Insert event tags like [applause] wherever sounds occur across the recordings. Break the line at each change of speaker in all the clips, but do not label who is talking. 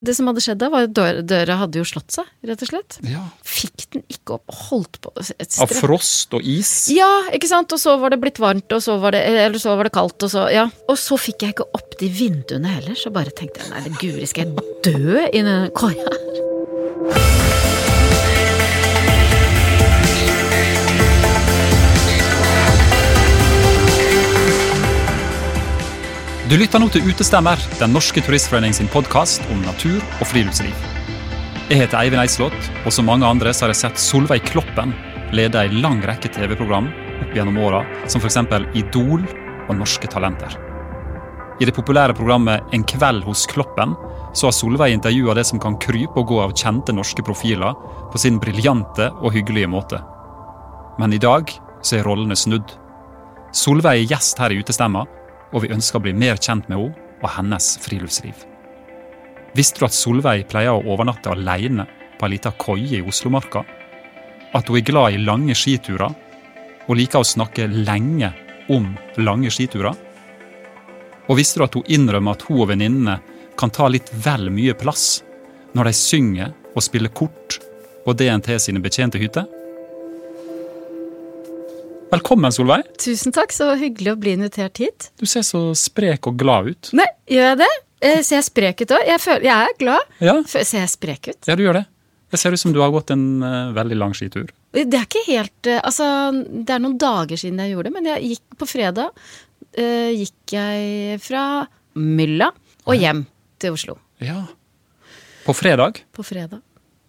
det som hadde skjedd da, var at døra, døra hadde jo slått seg, rett og slett.
Ja.
Fikk den ikke opp, holdt på et
Av
strev.
frost og is.
Ja, ikke sant? Og så var det blitt varmt, og så var det, eller så var det kaldt, og så ja. Og så fikk jeg ikke opp de vinduene heller, så bare tenkte jeg nei, det guri, skal jeg dø i den koia?
Du lytter nå til Utestemmer, den norske turistforening sin podkast om natur og friluftsliv. Jeg heter Eivind Eislott, og som mange andre så har jeg sett Solveig Kloppen lede en lang rekke TV-program opp gjennom åra, som f.eks. Idol og Norske Talenter. I det populære programmet En kveld hos Kloppen så har Solveig intervjua det som kan krype og gå av kjente norske profiler, på sin briljante og hyggelige måte. Men i dag så er rollene snudd. Solveig er gjest her i Utestemma, og vi ønsker å bli mer kjent med henne og hennes friluftsliv. Visste du at Solveig pleier å overnatte alene på ei lita koie i Oslomarka? At hun er glad i lange skiturer og liker å snakke lenge om lange skiturer? Og visste du at hun innrømmer at hun og venninnene kan ta litt vel mye plass når de synger og spiller kort på DNT sine betjente hytter? Velkommen, Solveig.
Tusen takk, så hyggelig å bli invitert hit.
Du ser så sprek og glad ut.
Nei, gjør jeg det? Eh, Ser jeg sprek ut òg? Jeg, føler- jeg er glad.
Ja,
F- Ser jeg sprek ut?
ja du gjør det. Det ser ut som du har gått en eh, veldig lang skitur.
Det er ikke helt eh, Altså, det er noen dager siden jeg gjorde det, men jeg gikk på fredag eh, gikk jeg fra Mylla og hjem til Oslo
Ja. På fredag,
på fredag.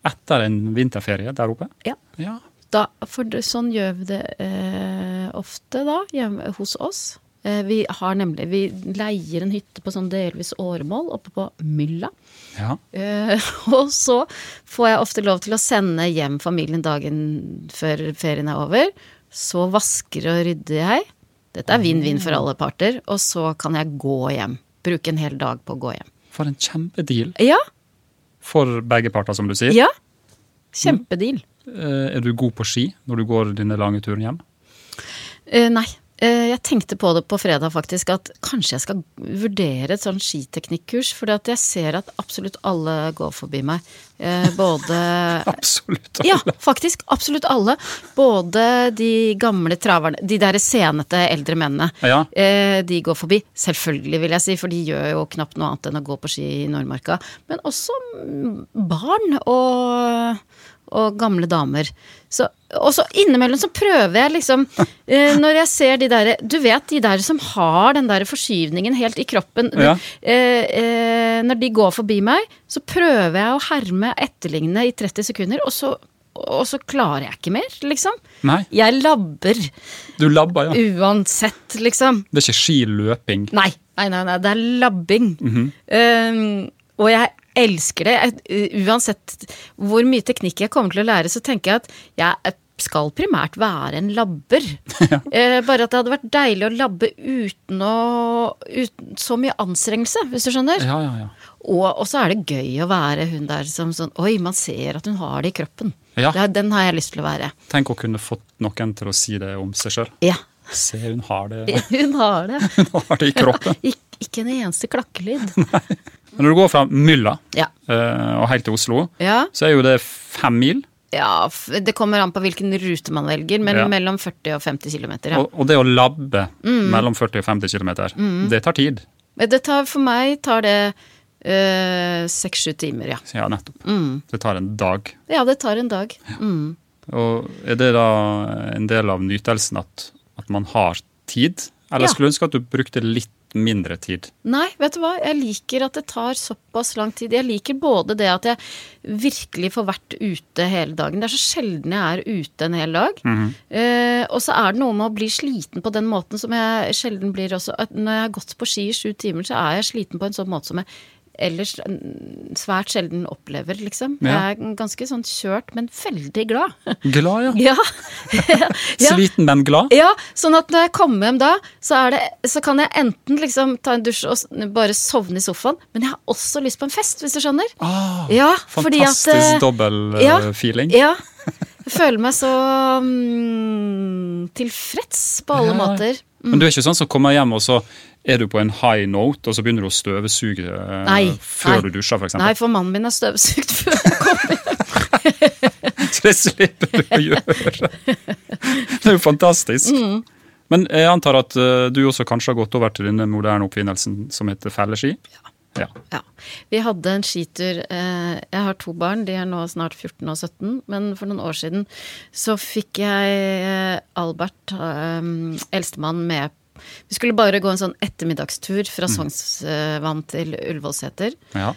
etter en vinterferie der oppe.
Ja.
Ja.
Da, for det- sånn gjør vi det eh, ofte da, hjemme hos oss. Eh, vi har nemlig Vi leier en hytte på sånn delvis åremål oppe på Mylla.
Ja.
Eh, [laughs] og så får jeg ofte lov til å sende hjem familien dagen før ferien er over. Så vasker og rydder jeg. Dette er vinn-vinn for alle parter. Og så kan jeg gå hjem. Bruke en hel dag på å gå hjem.
For en kjempedeal
Ja.
for begge parter, som du sier.
ja. Kjempedeal.
Eh, Er du god på ski når du går denne lange turen hjem?
Eh, nei. Eh, jeg tenkte på det på fredag, faktisk, at kanskje jeg skal vurdere et sånn skiteknikkurs. For jeg ser at absolutt alle går forbi meg. Eh, [laughs] både
Absolutt.
Ja, faktisk. Absolutt alle. Både de gamle traverne, de der senete eldre mennene.
Ja.
Eh, de går forbi. Selvfølgelig, vil jeg si, for de gjør jo knapt noe annet enn å gå på ski i Nordmarka. Men også mm, barn og, og gamle damer. Så, og så innimellom så prøver jeg
[laughs]
liksom eh, Når jeg ser de derre Du vet de der som har den der forskyvningen helt i kroppen.
Ja.
Eh, eh, når de går forbi meg, så prøver jeg å herme etterligne i 30 sekunder, og så, og så klarer jeg ikke mer, liksom.
Nei,
Jeg labber
du labber, ja.
uansett, liksom.
Det er ikke skiløping.
Nei, nei, nei, nei det er labbing. um, og jeg elsker det. Jeg, uh, uansett hvor mye teknikk jeg kommer til å lære, så tenker jeg at jeg eh, skal primært være en labber. Eh, bare at det hadde vært deilig å labbe uten, å, uten så mye anstrengelse, hvis du skjønner.
Ja, ja, ja.
Og, og så er det gøy å være hun der som sånn Oi, man ser at hun har det i kroppen.
Ja.
Det er- Den har jeg lyst til å være.
Tenk å kunne fått noen til å si det om seg sjøl.
Ja.
Se, hun har det,
[laughs] Hun har det.
[laughs] hun har det i kroppen.
Ik ikke en eneste klakkelyd.
Men når du går fra mylla
Ja.
eh, og helt til Oslo,
Ja.
så er jo det fem mil.
Ja, f- det kommer an på hvilken rute man velger, men
Ja.
mellom 40 og 50 km. Ja. Mm.
Og, og det å labbe mellom 40 og 50 km, det tar tid.
Det tar, for meg tar det seks-sju timer, ja. Mm.
Så Ja, nettopp. Det tar en dag.
Ja, det tar en dag. Mm.
Og er det da en del av nytelsen at, at man har tid? Eller
Ja.
skulle du ønske at du brukte litt mindre tid?
Nei, vet du hva, jeg liker at det tar såpass lang tid. Jeg liker både det at jeg virkelig får vært ute hele dagen. Det er så sjelden jeg er ute en hel dag. eh, og så er det noe med å bli sliten på den måten som jeg sjelden blir også. At når jeg har gått på ski i sju timer, så er jeg sliten på en sånn måte som jeg ellers mm, svært sjelden opplever, liksom.
Ja.
Jeg er ganske sånn kjørt, men veldig glad.
Glad, ja.
ja. [laughs] ja.
Sliten, men glad.
Ja, sånn at når jeg kommer hjem da, så, er det, så kan jeg enten liksom ta en dusj og s- bare sovne i sofaen, men jeg har også lyst på en fest, hvis du skjønner.
Ah,
Ja, fordi at,
fantastisk
eh,
dobbel eh,
ja.
feeling.
Ja. Jeg føler meg så mm, tilfreds på alle
Ja.
måter.
Men du er ikke sånn som kommer hjem, og så er du på en high note, og så begynner du å støvsuge eh,
Nei,
før
nei.
du dusjer, f.eks.
Nei, for mannen min er støvsugd før han kommer.
Så det slipper du å gjøre. Det er jo fantastisk.
Mm.
Men jeg antar at eh, du også kanskje har gått over til denne moderne oppfinnelsen som heter felleski? Ja.
Ja. Vi hadde en skitur eh, Jeg har to barn, de er nå snart 14 og 17. Men for noen år siden så fikk jeg eh, Albert, eh, eldstemann, med Vi skulle bare gå en sånn ettermiddagstur
Mm.
fra Sognsvann til Ullevålseter. [laughs]
ja.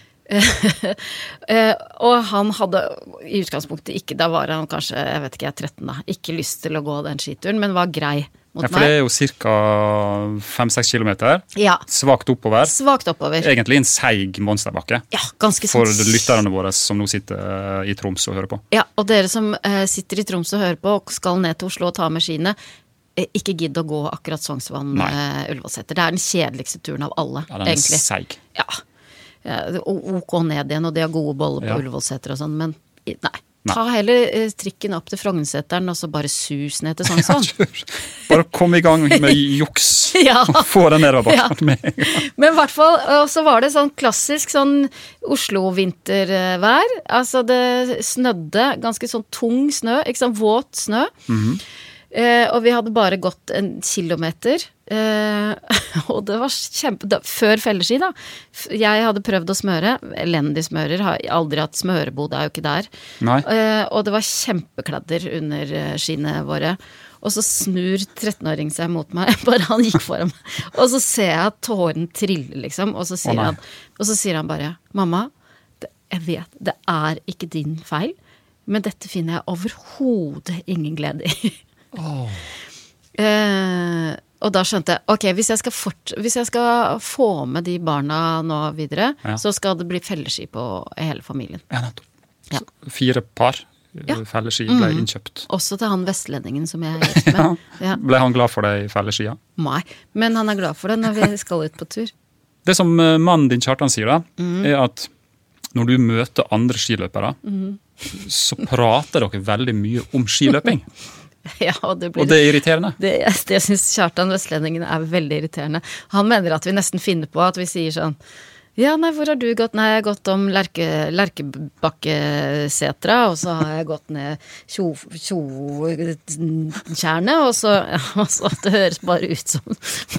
Eh, og han hadde i utgangspunktet ikke Da var han kanskje jeg vet ikke, jeg er 13, da. Ikke lyst til å gå den skituren, men var grei mot
ja for det
meg.
er jo ca. 5-6 km.
Ja.
Svakt oppover.
Svakt oppover.
Egentlig en seig monsterbakke.
Ja, ganske
For
sånn
lytterne våre som nå sitter eh, i Troms og hører på.
Ja, og dere som eh, sitter i Tromsø og hører på og skal ned til Oslo og ta med skiene, eh, ikke gidd å gå akkurat
Nei.
Sognsvann-Ullevålseter. det er den kjedeligste turen av alle,
Ja, den er
egentlig.
seig.
Ja. Ja, det- o- ok ned igjen, og de har gode boller på
Ja.
Ullevålseter og sånn, men i- nei.
Nei.
Ta heller eh, trikken opp til Frognerseteren, og så bare sus
[laughs]
ned til Sognsvann.
Bare kom i gang med
[laughs]
juks
Ja.
og få den nedoverbakken med en gang.
[laughs] Men i hvert fall, og så var det sånn klassisk sånn Oslo-vintervær. Altså det snødde, ganske sånn tung snø, ikke sånn våt snø. eh, og vi hadde bare gått en kilometer. Eh, [laughs] og det var kjempe... Da, før felleski, da. F- Jeg hadde prøvd å smøre. Elendig smører. Har aldri hatt smørebod, det er jo ikke der.
Nei.
Eh, og det var kjempekladder under eh, skiene våre. Og så snur 13-åring seg mot meg, [laughs] bare han gikk foran meg. Og så ser jeg at tåren triller, liksom. Og så sier,
Å, nei.
han, og så sier han bare Mamma, det, jeg vet det er ikke din feil, men dette finner jeg overhodet ingen glede i. [laughs] Eh, og da skjønte jeg ok, hvis jeg skal, fort, hvis jeg skal få med de barna nå videre,
Ja.
så skal det bli felleski på hele familien.
Ja, nettopp.
Ja.
Så Fire par ja.
Ja.
felleski ble innkjøpt.
Også til han vestlendingen som jeg er gift
[laughs]
med. ja.
Ble han glad for de felleskia?
Nei, men han er glad for det når vi skal ut på tur.
Det som eh, mannen din Kjartan sier, da,
Mm.
er at når du møter andre skiløpere,
Mm.
så prater dere veldig mye om
[laughs]
skiløping.
[laughs] Ja, og det blir
Og det er
[laughs]
irriterende.
Det, det syns Kjartan Vestlendingen er veldig irriterende. Han mener at vi nesten finner på at vi sier sånn Ja, nei, hvor har du gått? Nei, jeg har gått om Lerke, Lerkebakkesetra, og så har jeg gått ned Tjo- Tjotjernet, [laughs] og så Altså, det høres bare ut som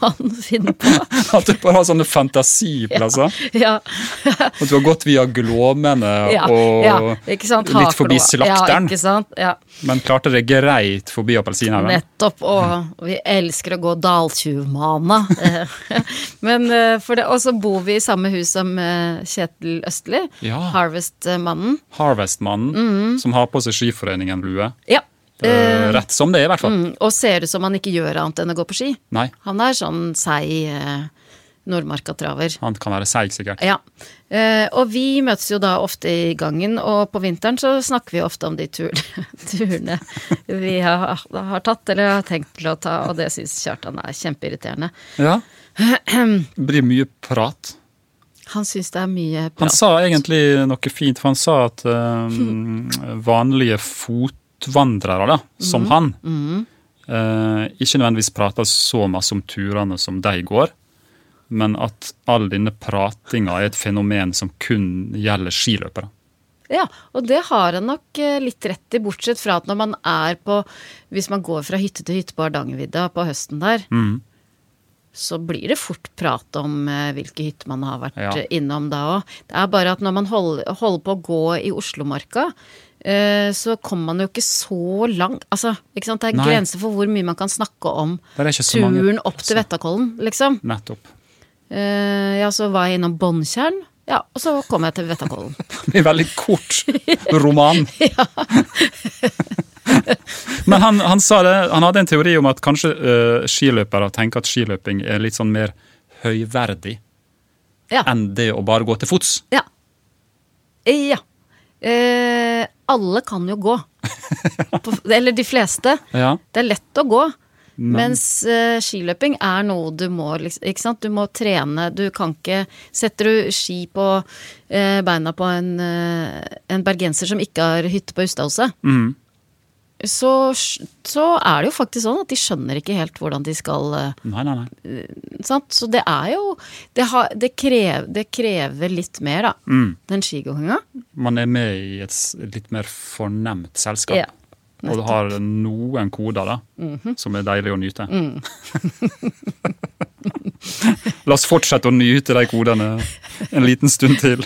man finner på. [laughs]
At du bare har sånne fantasiplasser.
Ja.
At du har gått via Glåmene
[laughs] ja,
og
ja ikke sant?
litt forbi
Haklo. Ja,
Slakteren,
ikke sant? Ja.
men klarte det greit forbi Appelsinhaugen.
Nettopp. Og vi elsker å gå daltjuvmana. [laughs] Eh, Men eh, for det, og så bor vi i samme hus som eh, Kjetil Østli,
Ja.
Harvest-mannen.
Harvestmannen
Mm.
som har på seg Skiforeningen-lue.
Ja.
Eh, rett som det er, i hvert fall.
Mm, Og ser ut som han ikke gjør annet enn å gå på ski.
Nei,
Han er sånn seig eh, nordmarkatraver.
han kan være seig, sikkert.
Ja. Eh, og vi møtes jo da ofte i gangen, og på vinteren så snakker vi ofte om de tur [laughs] turene vi har, har tatt eller har tenkt til å ta, og det syns Kjartan er kjempeirriterende.
[clears throat] Ja. Det blir mye prat.
Han syns det er mye
Han
prat.
sa egentlig noe fint, for han sa at [clears throat] eh, vanlige fotvandrere, da, som han, Mhm. eh, ikke nødvendigvis prater så masse om turene som de går, men at all denne pratinga er et fenomen som kun gjelder skiløpere.
Ja, og det har han nok eh, litt rett i, bortsett fra at når man er på Hvis man går fra hytte til hytte på Hardangervidda på høsten der,
Mm.
så blir det fort prat om eh, hvilke hytter man har vært
Ja.
eh, innom da òg. Det er bare at når man holder, holder på å gå i Oslomarka, eh, så kommer man jo ikke så langt. Altså, ikke sant? Det er
Nei.
grenser for hvor mye man kan snakke om
Der er ikke så mange
turen opp til
plasser.
Vettakollen, liksom.
Nettopp.
Eh, ja, så var jeg innom Båndtjern. Ja, og så kom jeg til Vettakollen.
Det blir en veldig kort roman. Men han, han sa det, han hadde en teori om at kanskje eh, skiløpere tenker at skiløping er litt sånn mer høyverdig
Ja.
enn det å bare gå til fots.
Ja. Eh, Ja. Eh, alle kan jo gå. På, eller de fleste.
Ja.
Det er lett å gå. Mens eh, skiløping er noe du må liksom, ikke sant? Du må trene. Du kan ikke Setter du ski på eh, beina på en, eh, en bergenser som ikke har hytte på Ustadhuset, så, så er det jo faktisk sånn at de skjønner ikke helt hvordan de skal eh,
Nei, nei, nei.
sant? Så det er jo Det, har, det, krever, det krever litt mer, da.
Mm.
Den skigåinga.
Man er med i et s- litt mer fornemt selskap.
Ja, Mhm.
og du har noen koder da, som er deilig å nyte.
Mm.
[laughs] La oss fortsette å nyte de kodene en liten stund til.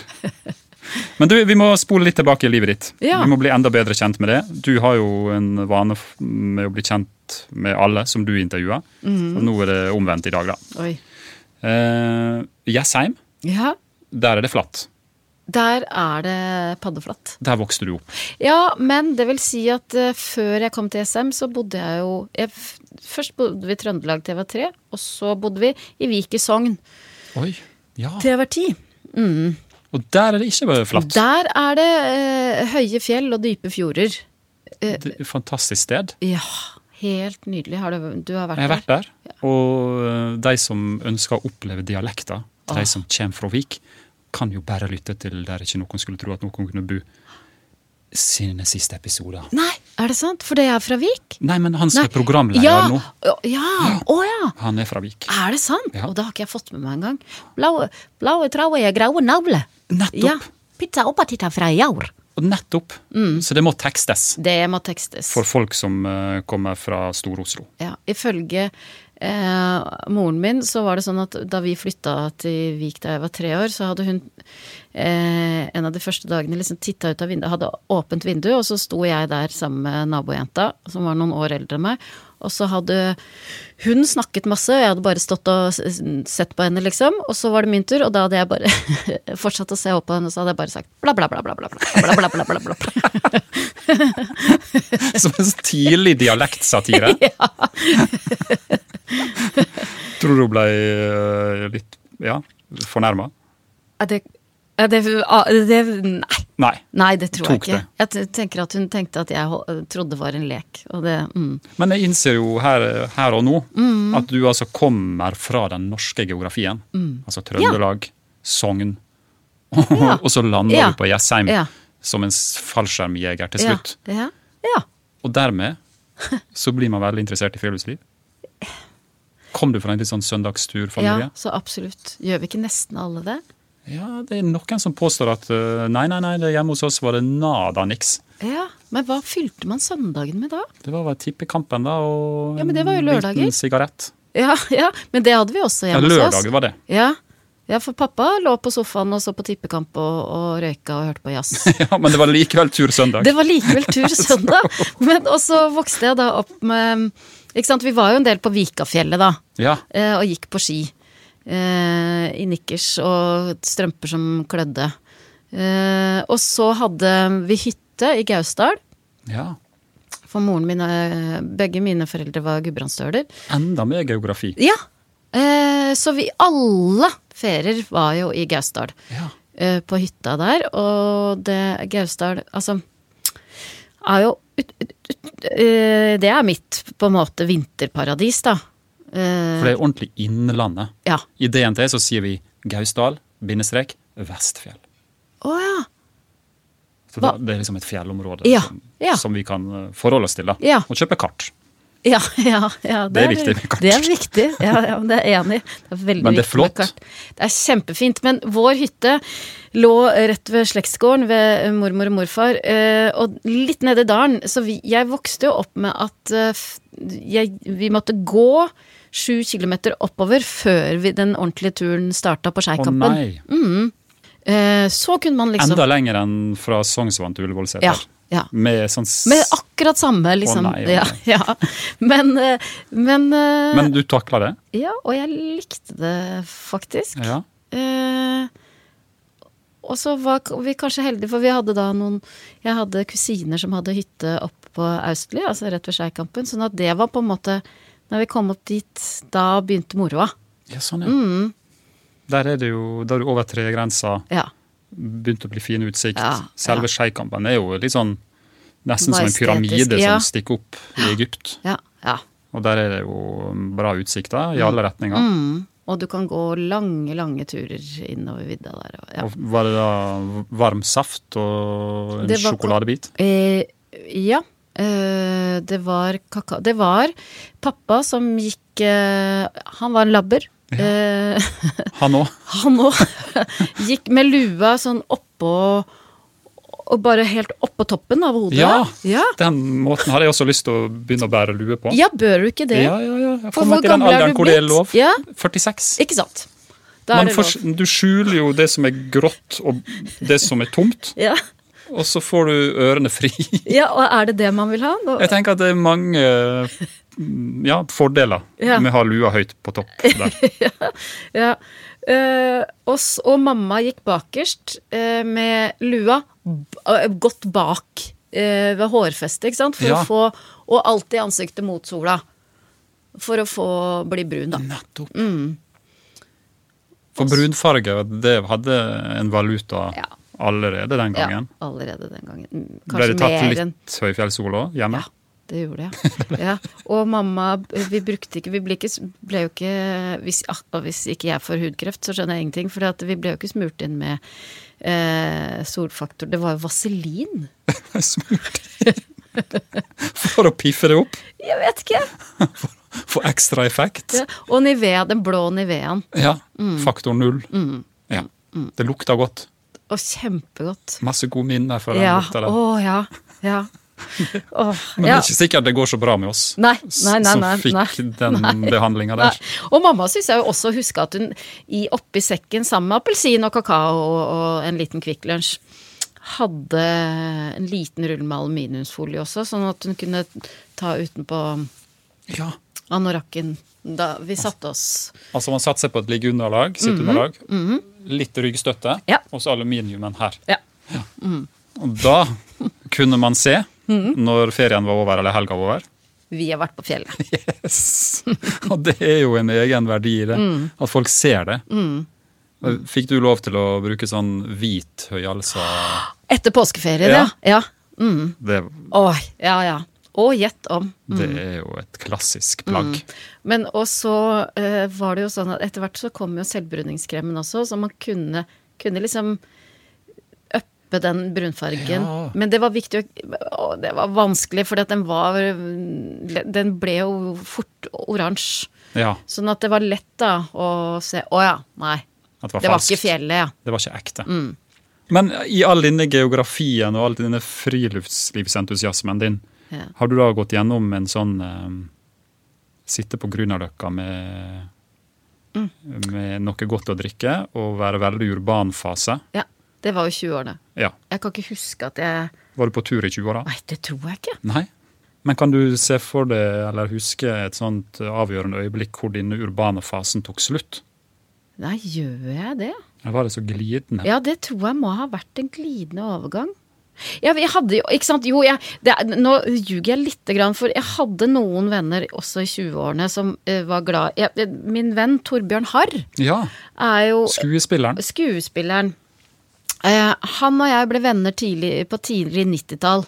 Men du, vi må spole litt tilbake i livet ditt.
Ja.
Vi må bli enda bedre kjent med det. Du har jo en vane f- med å bli kjent med alle som du intervjuer.
Mhm.
Og nå er det omvendt i dag, da.
Oi.
Eh, Jessheim,
Ja,
der er det flatt.
der er det paddeflatt.
Der vokste du opp.
Ja, men det vil si at eh, før jeg kom til SM, så bodde jeg jo jeg, f- Først bodde vi i Trøndelag til jeg var tre, og så bodde vi i Vik i Sogn
Oi, ja.
til jeg var ti.
Og der er det ikke bare flatt.
Der er det eh, høye fjell og dype fjorder.
Det er et fantastisk sted.
Ja, helt nydelig. Har du, du har vært,
Jeg har vært der. Og eh, de som ønsker å oppleve dialekter,
Ah.
de som kommer fra Vik, kan jo bare lytte til der ikke noen skulle tro at noen kunne bo. Sine siste episoder.
Nei, er det sant? For det er fra Vik?
Nei, men han som
Nei.
er programleder
ja, Ah.
nå,
å- Ja! Å ja!
han er fra Vik.
Er det sant?
Ja.
Og det har ikke jeg fått med meg engang. Blaue, blaue traue er graue navle.
Nettopp.
Ja. Pizza oppatitta fra jaur.
Og nettopp.
Mm.
Så det må tekstes
Det må tekstes.
for folk som eh, kommer fra Stor-Oslo.
Ja, ifølge eh, moren min så var det sånn at da vi flytta til Vik da jeg var tre år, så hadde hun eh, en av de første dagene liksom titta ut av vinduet, hadde åpent vindu, og så sto jeg der sammen med nabojenta som var noen år eldre enn meg. Og så hadde hun snakket masse, og jeg hadde bare stått og s- s- sett på henne, liksom. Og så var det min tur, og da hadde jeg bare [laughs] fortsatt å se opp på henne, og så hadde jeg bare sagt bla, bla, bla, bla, bla, bla, bla, bla, bla, bla.
[laughs] Som en sånn tidlig
[laughs]
dialektsatire. [laughs] Tror du hun ble eh, litt ja, fornærma?
Er det, er det, er det Nei.
Nei.
Nei, det tror jeg
Tok
ikke.
det.
Jeg t- tenker at hun tenkte at jeg hol- eh, trodde det var en lek. Og det, mm.
Men jeg innser jo her, her og nå at du altså kommer fra den norske geografien. Altså Trøndelag, Sogn. [laughs] og så lander
Mm. Ja.
du på Jessheim
Ja.
som en s- fallskjermjeger til slutt.
Ja. ja. ja.
Og dermed så blir man veldig interessert i
[laughs]
friluftsliv. Kom du fra en litt sånn
ja
søndagsturfamilie?
så absolutt. Gjør vi ikke nesten alle det?
Ja. det er noen som påstår at eh, nei, nei, nei, det hjemme hos oss var det nada niks.
Ja. Men hva fylte man søndagen med da?
Det var vel tippekampen, da, og
Ja, men det var jo
en
lørdager.
liten sigarett.
Ja, [laughs] ja. Men det hadde vi også
Ja,
hjemme hos
lørdager
oss.
var det. [laughs]
Ja. ja, for pappa lå på sofaen og så på tippekamp og, og røyka og hørte på
[laughs]
jazz.
Ja, Men det var likevel tur søndag.
Det var likevel
[laughs]
tur søndag. Men og så vokste jeg da opp med ikke sant? Vi var jo en del på Vikafjellet da.
Ja.
eh, og gikk på ski. Eh, I nikkers og strømper som klødde. Eh, og så hadde vi hytte i Gausdal.
Ja.
For moren min, eh, begge mine foreldre var gudbrandsdøler.
Enda mer geografi.
Ja! Eh, så vi alle ferier var jo i Gausdal.
Ja.
Eh, på hytta der. Og det Gausdal, altså Er jo ut, ut, ut, eh, Det er mitt, på en måte, vinterparadis, da. Eh,
For det er ordentlig Innlandet.
ja.
I DNT så sier vi Gausdal, bindestrek, Vestfjell.
Å ja.
Så det,
Hva?
det er liksom et fjellområde
Ja,
Som,
ja.
som vi kan eh, forholde oss til. da.
Ja.
Og kjøpe kart.
Ja, ja, ja
Det er viktig med kart.
Det er viktig, ja, ja men det er jeg enig. i. Det er veldig
Men det
viktig
er
med
flott.
kart. Det er kjempefint. Men vår hytte lå rett ved slektsgården ved eh, mormor og morfar, eh, og litt nede i dalen. Så vi, jeg vokste jo opp med at eh, f- jeg, vi måtte gå sju kilometer oppover før vi, den ordentlige turen starta på
Å
Skeikampen.
nei!
Eh, Mm, Så kunne man liksom
Enda lenger enn fra Sognsvann til Ullevålseter.
Ja, ja.
Med sånn s-
Med akkurat samme, liksom.
nei, å
ja, ja. Men, eh, men, eh,
Men du takla det?
Ja, og jeg likte det faktisk.
Ja.
Eh, og så var k- vi kanskje heldige, for vi hadde da noen Jeg hadde kusiner som hadde hytte oppe på Austli, altså rett ved Skeikampen. Sånn at det var på en måte Når vi kom opp dit, da begynte moroa.
ja sånn, ja.
Mm.
Der er det jo, da er du over tregrensa,
Ja.
begynt å bli fin utsikt.
Ja, ja.
Selve Skeikampen er jo litt sånn Nesten som en
Majestetisk,
pyramide
ja.
som stikker opp i Egypt.
Ja. ja.
Og der er det jo bra utsikter i alle retninger.
Mm. Og du kan gå lange, lange turer innover vidda der. Og, ja.
Og var det da varm saft og en
Det var-
sjokoladebit?
Eh, ja. Eh, det var kaka... Det var pappa som gikk eh, Han var en labber. Eh, [laughs]
Han òg.
han òg. [laughs] gikk med lua sånn oppå Og bare helt oppå toppen av hodet.
Ja.
ja.
Den måten hadde jeg også lyst til å begynne å bære lue på.
Ja, bør du ikke det?
ja, ja. ja. Jeg
For
kommer
hvor
til den
gammel er
alderen
du
hvor det er
blitt?
lov.
Ja.
46.
Ikke sant? Da
Man
er det
får,
lov.
du skjuler jo det som er grått og det som er tomt,
Ja.
og så får du ørene fri.
ja, og er det det man vil ha? Da-
[laughs] Jeg tenker at det er mange mm, ja, fordeler
Ja.
med å ha lua høyt på
[laughs]
topp der.
Ja. Eh, oss og mamma gikk bakerst eh, med lua b eh, godt bak eh, ved hårfestet, ikke sant? For
Ja.
å få, og alltid ansiktet mot sola. For å få bli brun, da.
Nettopp.
Mm.
For brunfarge, det hadde en valuta
Ja.
allerede den
Ja,
gangen.
allerede den gangen. Mm,
Ble
Kanskje
det tatt
mer enn
litt høyfjellssol òg hjemme?
Ja, det gjorde jeg. Ja. Og mamma, vi brukte ikke Vi ble, ikke, ble jo ikke hvis, ah, og hvis ikke jeg får hudkreft, så skjønner jeg ingenting. For vi ble jo ikke smurt inn med eh, solfaktor. Det var jo vaselin.
[laughs] Smurt [laughs] inn. For å piffe det opp,
Jeg vet ikke!
få ekstra effekt.
Ja. Mm. Og Nivea, den blå Niveaen.
Ja. Faktor null. Ja.
Mm.
Det lukta godt.
Og kjempegodt.
Masse gode minner fra den
Ja.
lukta der.
Å ja. Ja.
[laughs]
Åh,
Men det
ja.
er ikke sikkert det går så bra med oss
Nei,
s-
nei, nei,
som
nei,
fikk
nei,
den
[laughs] nei.
behandlinga sånn der.
Nei. Og mamma syns jeg jo også huska at hun i oppi sekken sammen med appelsin og kakao og, og en liten Kvikk Lunsj hadde en liten rull med aluminiumsfolie også, sånn at hun kunne ta utenpå
Ja.
anorakken da vi satte oss
Altså man satser på et liggeunderlag, sitteunderlag, litt ryggstøtte,
Mhm. Ja.
og så aluminiumen her.
Ja.
Og da kunne man se,
Mhm.
når ferien var over eller
[laughs]
helga var over,
Vi har vært på fjellet.
yes. og det er jo en egen verdi i det,
Mhm.
at folk ser det. Fikk du lov til å bruke sånn hvit høyhalsa
Etter påskeferien, ja.
Ja.
ja. Mm.
det,
Åh, ja, ja. Og gjett om.
det er jo et klassisk plagg.
Mhm. Men og så eh, var det jo sånn at etter hvert så kom jo selvbruningskremen også, så man kunne, kunne liksom uppe den brunfargen.
Ja.
Men det var viktig å å, Det var vanskelig, for den var Den ble jo fort oransje.
Ja,
Sånn at det var lett da å se Å ja, nei.
at det var
Det var
falskt.
ikke fjellet, ja.
Det var ikke ekte. Men i all denne geografien og all denne friluftslivsentusiasmen din,
Ja.
har du da gått gjennom en sånn eh, Sitte på Grünerløkka med, med noe godt å drikke og være veldig urban fase?
ja. Det var jo 20-årene.
Ja.
Jeg kan ikke huske at jeg
Var du på tur i 20-åra?
Nei, det tror jeg ikke.
Nei. Men kan du se for deg eller huske et sånt avgjørende øyeblikk hvor denne urbane fasen tok slutt?
Nei, gjør jeg det?
Eller var det så glidende?
Ja, det tror jeg må ha vært en glidende overgang. Ja, jeg hadde jo, ikke sant? Jo, jeg, det, er- nå ljuger jeg lite grann, for jeg hadde noen venner også i 20-årene som eh, var glad jeg, eh, Min venn Torbjørn Harr
ja.
er jo
Skuespilleren.
skuespilleren. Eh, han og jeg ble venner tidlig, på tidlig 90-tall.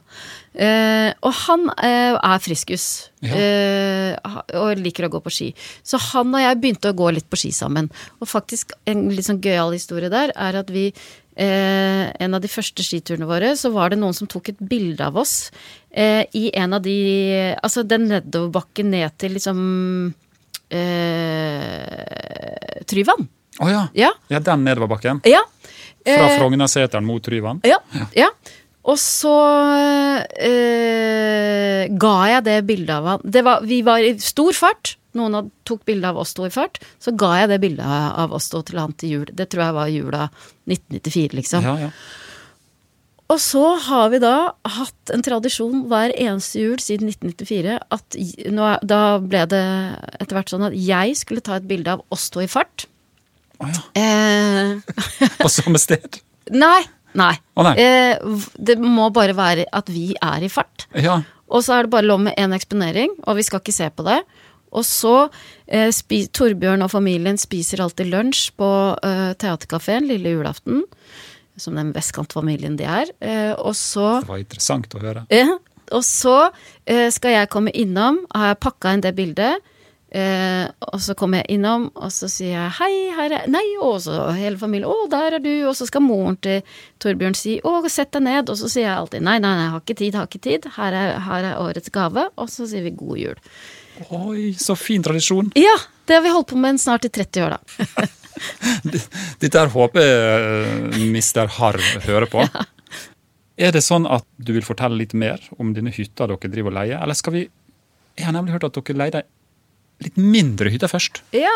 Eh, og han eh, er friskus
Ja.
eh, ha- og liker å gå på ski. Så han og jeg begynte å gå litt på ski sammen. Og faktisk en litt sånn gøyal historie der er at vi eh, En av de første skiturene våre, så var det noen som tok et bilde av oss eh, i en av de Altså den nedoverbakken ned til liksom eh, Tryvann.
Å ja.
Ja.
ja. Den nedoverbakken.
Ja.
Fra
Eh,
Frognerseteren mot Tryvann?
Ja. ja. Og så eh, ga jeg det bildet av han. Det var, vi var i stor fart. Noen hadde- tok bilde av oss to i fart. Så ga jeg det bildet av oss to til han til jul. Det tror jeg var jula 1994, liksom.
Ja, ja.
Og så har vi da hatt en tradisjon hver eneste jul siden 1994 at j- nå, er- da ble det etter hvert sånn at jeg skulle ta et bilde av oss to i fart.
Å ja.
Eh, [laughs]
På samme sted?
nei. Nei.
Å nei.
Eh, v- det må bare være at vi er i fart.
Ja.
Og så er det bare lov med én eksponering, og vi skal ikke se på det. Og så eh, spi, Torbjørn og familien spiser alltid lunsj på eh, Theatercaféen lille julaften. Som den vestkantfamilien de er. Eh, og så
Det var interessant å høre.
Eh, og så eh, skal jeg komme innom, har jeg pakka inn det bildet. Eh, og så kommer jeg innom, og så sier jeg hei, her er Nei, og så hele familien Å, der er du. Og så skal moren til Torbjørn si å, sett deg ned. Og så sier jeg alltid nei, nei, nei, har ikke tid, har ikke tid. Her er, her er årets gave. Og så sier vi god jul.
Oi, så fin tradisjon.
Ja, det har vi holdt på med en snart i 30 år, da.
Dette her håper jeg eh, Mr. Harv hører
[laughs]
på. Er det sånn at du vil fortelle litt mer om denne hytta dere driver og leier, eller skal vi Jeg har nemlig hørt at dere leide litt mindre hytte først.
Ja.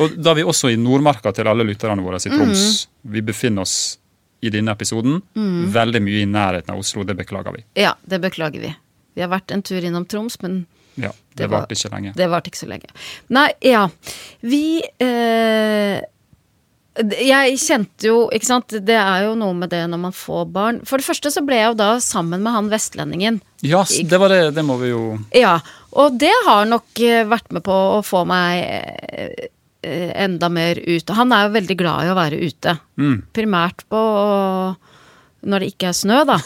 Og da er vi også i Nordmarka til alle lytterne våre i Troms.
Mm.
Vi befinner oss i denne episoden veldig mye i nærheten av Oslo, det beklager vi.
ja, det beklager vi. Vi har vært en tur innom Troms, men
Ja, Det,
Det var-
varte ikke lenge.
Det varte ikke så lenge. Nei, ja. Vi eh, d- Jeg kjente jo Ikke sant, det er jo noe med det når man får barn. For det første så ble jeg jo da sammen med han vestlendingen.
Ja, s- det var det. Det må vi jo
Ja, og det har nok eh, vært med på å få meg eh, eh, enda mer ut. Og han er jo veldig glad i å være ute.
Mm.
Primært på når det ikke er snø,
[laughs]
da.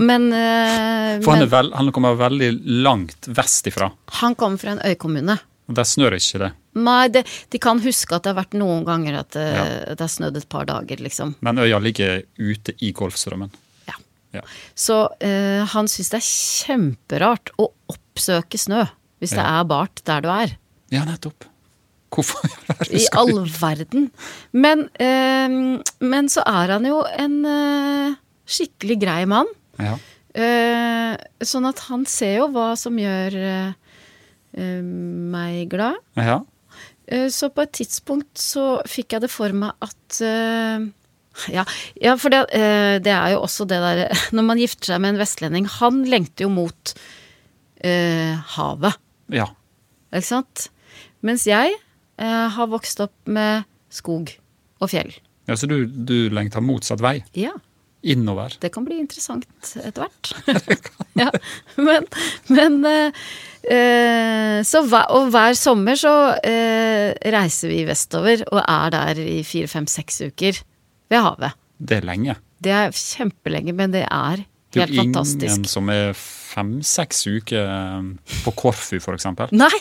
Men, eh,
For han, er
men
vel, han kommer veldig langt vest ifra.
han kommer fra en øykommune.
Og der snør ikke det.
Nei, det, de kan huske at det har vært noen ganger at det, det har snødd et par dager, liksom.
Men øya ligger ute i Golfstrømmen.
Ja.
Ja.
Så eh, han syns det er kjemperart å oppsøke snø hvis det
Ja.
er bart der du er.
ja, nettopp. Hvorfor [laughs] i all verden
I
skal
all verden. Men, eh, men så er han jo en eh, skikkelig grei mann.
ja.
Eh, sånn at han ser jo hva som gjør eh, eh, meg glad.
ja.
Eh, Så på et tidspunkt så fikk jeg det for meg at eh, ja, ja, for det, eh, det er jo også det derre [laughs] Når man gifter seg med en vestlending Han lengter jo mot eh, havet,
ja.
ikke sant? Mens jeg eh, har vokst opp med skog og fjell.
ja, så du, du lengter motsatt vei.
Ja,
Innover.
det kan bli interessant etter hvert. [laughs] ja, men men eh, eh, så hver, og hver sommer så eh, reiser vi vestover og er der i fire, fem, seks uker ved havet.
Det er lenge.
Det er kjempelenge, men det er
Det er
helt
jo ingen
fantastisk.
som er fem-seks uker eh, på Korfu, f.eks.
Nei!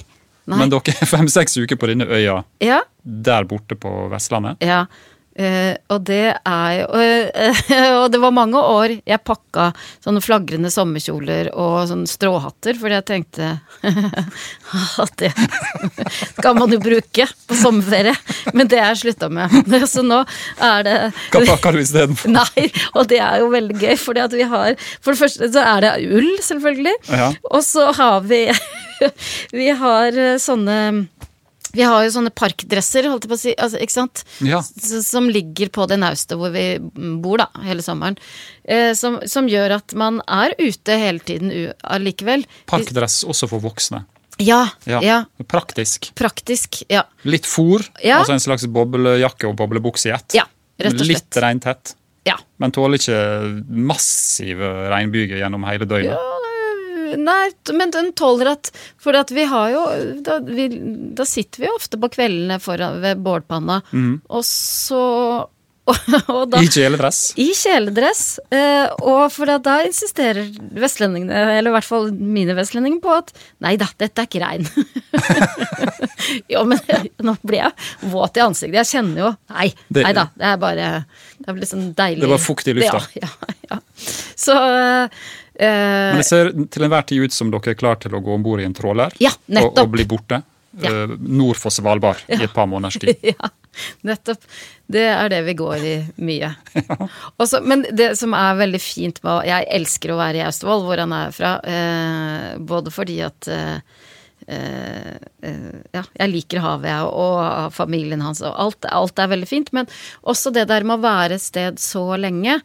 nei.
Men dere er fem-seks uker på denne øya
ja,
der borte på Vestlandet.
ja. Eh, og det er jo eh, [laughs] Og det var mange år jeg pakka sånne flagrende sommerkjoler og sånne stråhatter, fordi jeg tenkte [laughs] at det skal man jo bruke på sommerferie. Men det har jeg slutta med. [laughs] Så nå er det
Hva pakker du istedenfor?
[laughs] Nei, og det er jo veldig gøy, fordi at vi har For det første så er det ull, selvfølgelig.
Ja.
Og så har vi [laughs] Vi har eh, sånne vi har jo sånne parkdresser, holdt jeg på å si, altså, ikke sant?
Ja.
S- Som ligger på det naustet hvor vi bor da, hele sommeren. Eh, som, som gjør at man er ute hele tiden u- allikevel.
Parkdress også for voksne.
Ja,
Ja.
ja.
Praktisk.
Praktisk. Ja.
Litt fôr,
Ja.
altså en slags boblejakke og boblebukse i ett.
Ja, rett og slett.
Litt regntett.
ja.
Men tåler ikke massive regnbyger gjennom hele døgnet.
Nei, t- men den tåler at For at vi har jo da, vi, da sitter vi jo ofte på kveldene foran, ved bålpanna, og så [laughs] og, og da
Mhm. I kjeledress.
I kjeledress. eh, Og for da, da insisterer vestlendingene, eller i hvert fall mine vestlendinger, på at nei da, dette er ikke regn. [laughs] jo, men nå blir jeg våt i ansiktet. Jeg kjenner jo Nei,
Det-
nei da. Det er bare Det er litt sånn deilig.
Det var fukt i lufta.
Ja, ja, ja. Så eh,
Men det ser til enhver tid ut som dere er klar til å gå om bord i en tråler
Ja,
og, og
nettopp.
bli borte
Ja.
eh, nord for Svalbard i et par måneders tid.
[laughs] ja, nettopp. Det er det vi går i mye. Også, men det som er veldig fint med å- Jeg elsker å være i Austevoll, hvor han er fra. Eh, både fordi at eh, eh, eh, ja, jeg liker havet, jeg, og familien hans, og alt, alt er veldig fint. Men også det der med å være et sted så lenge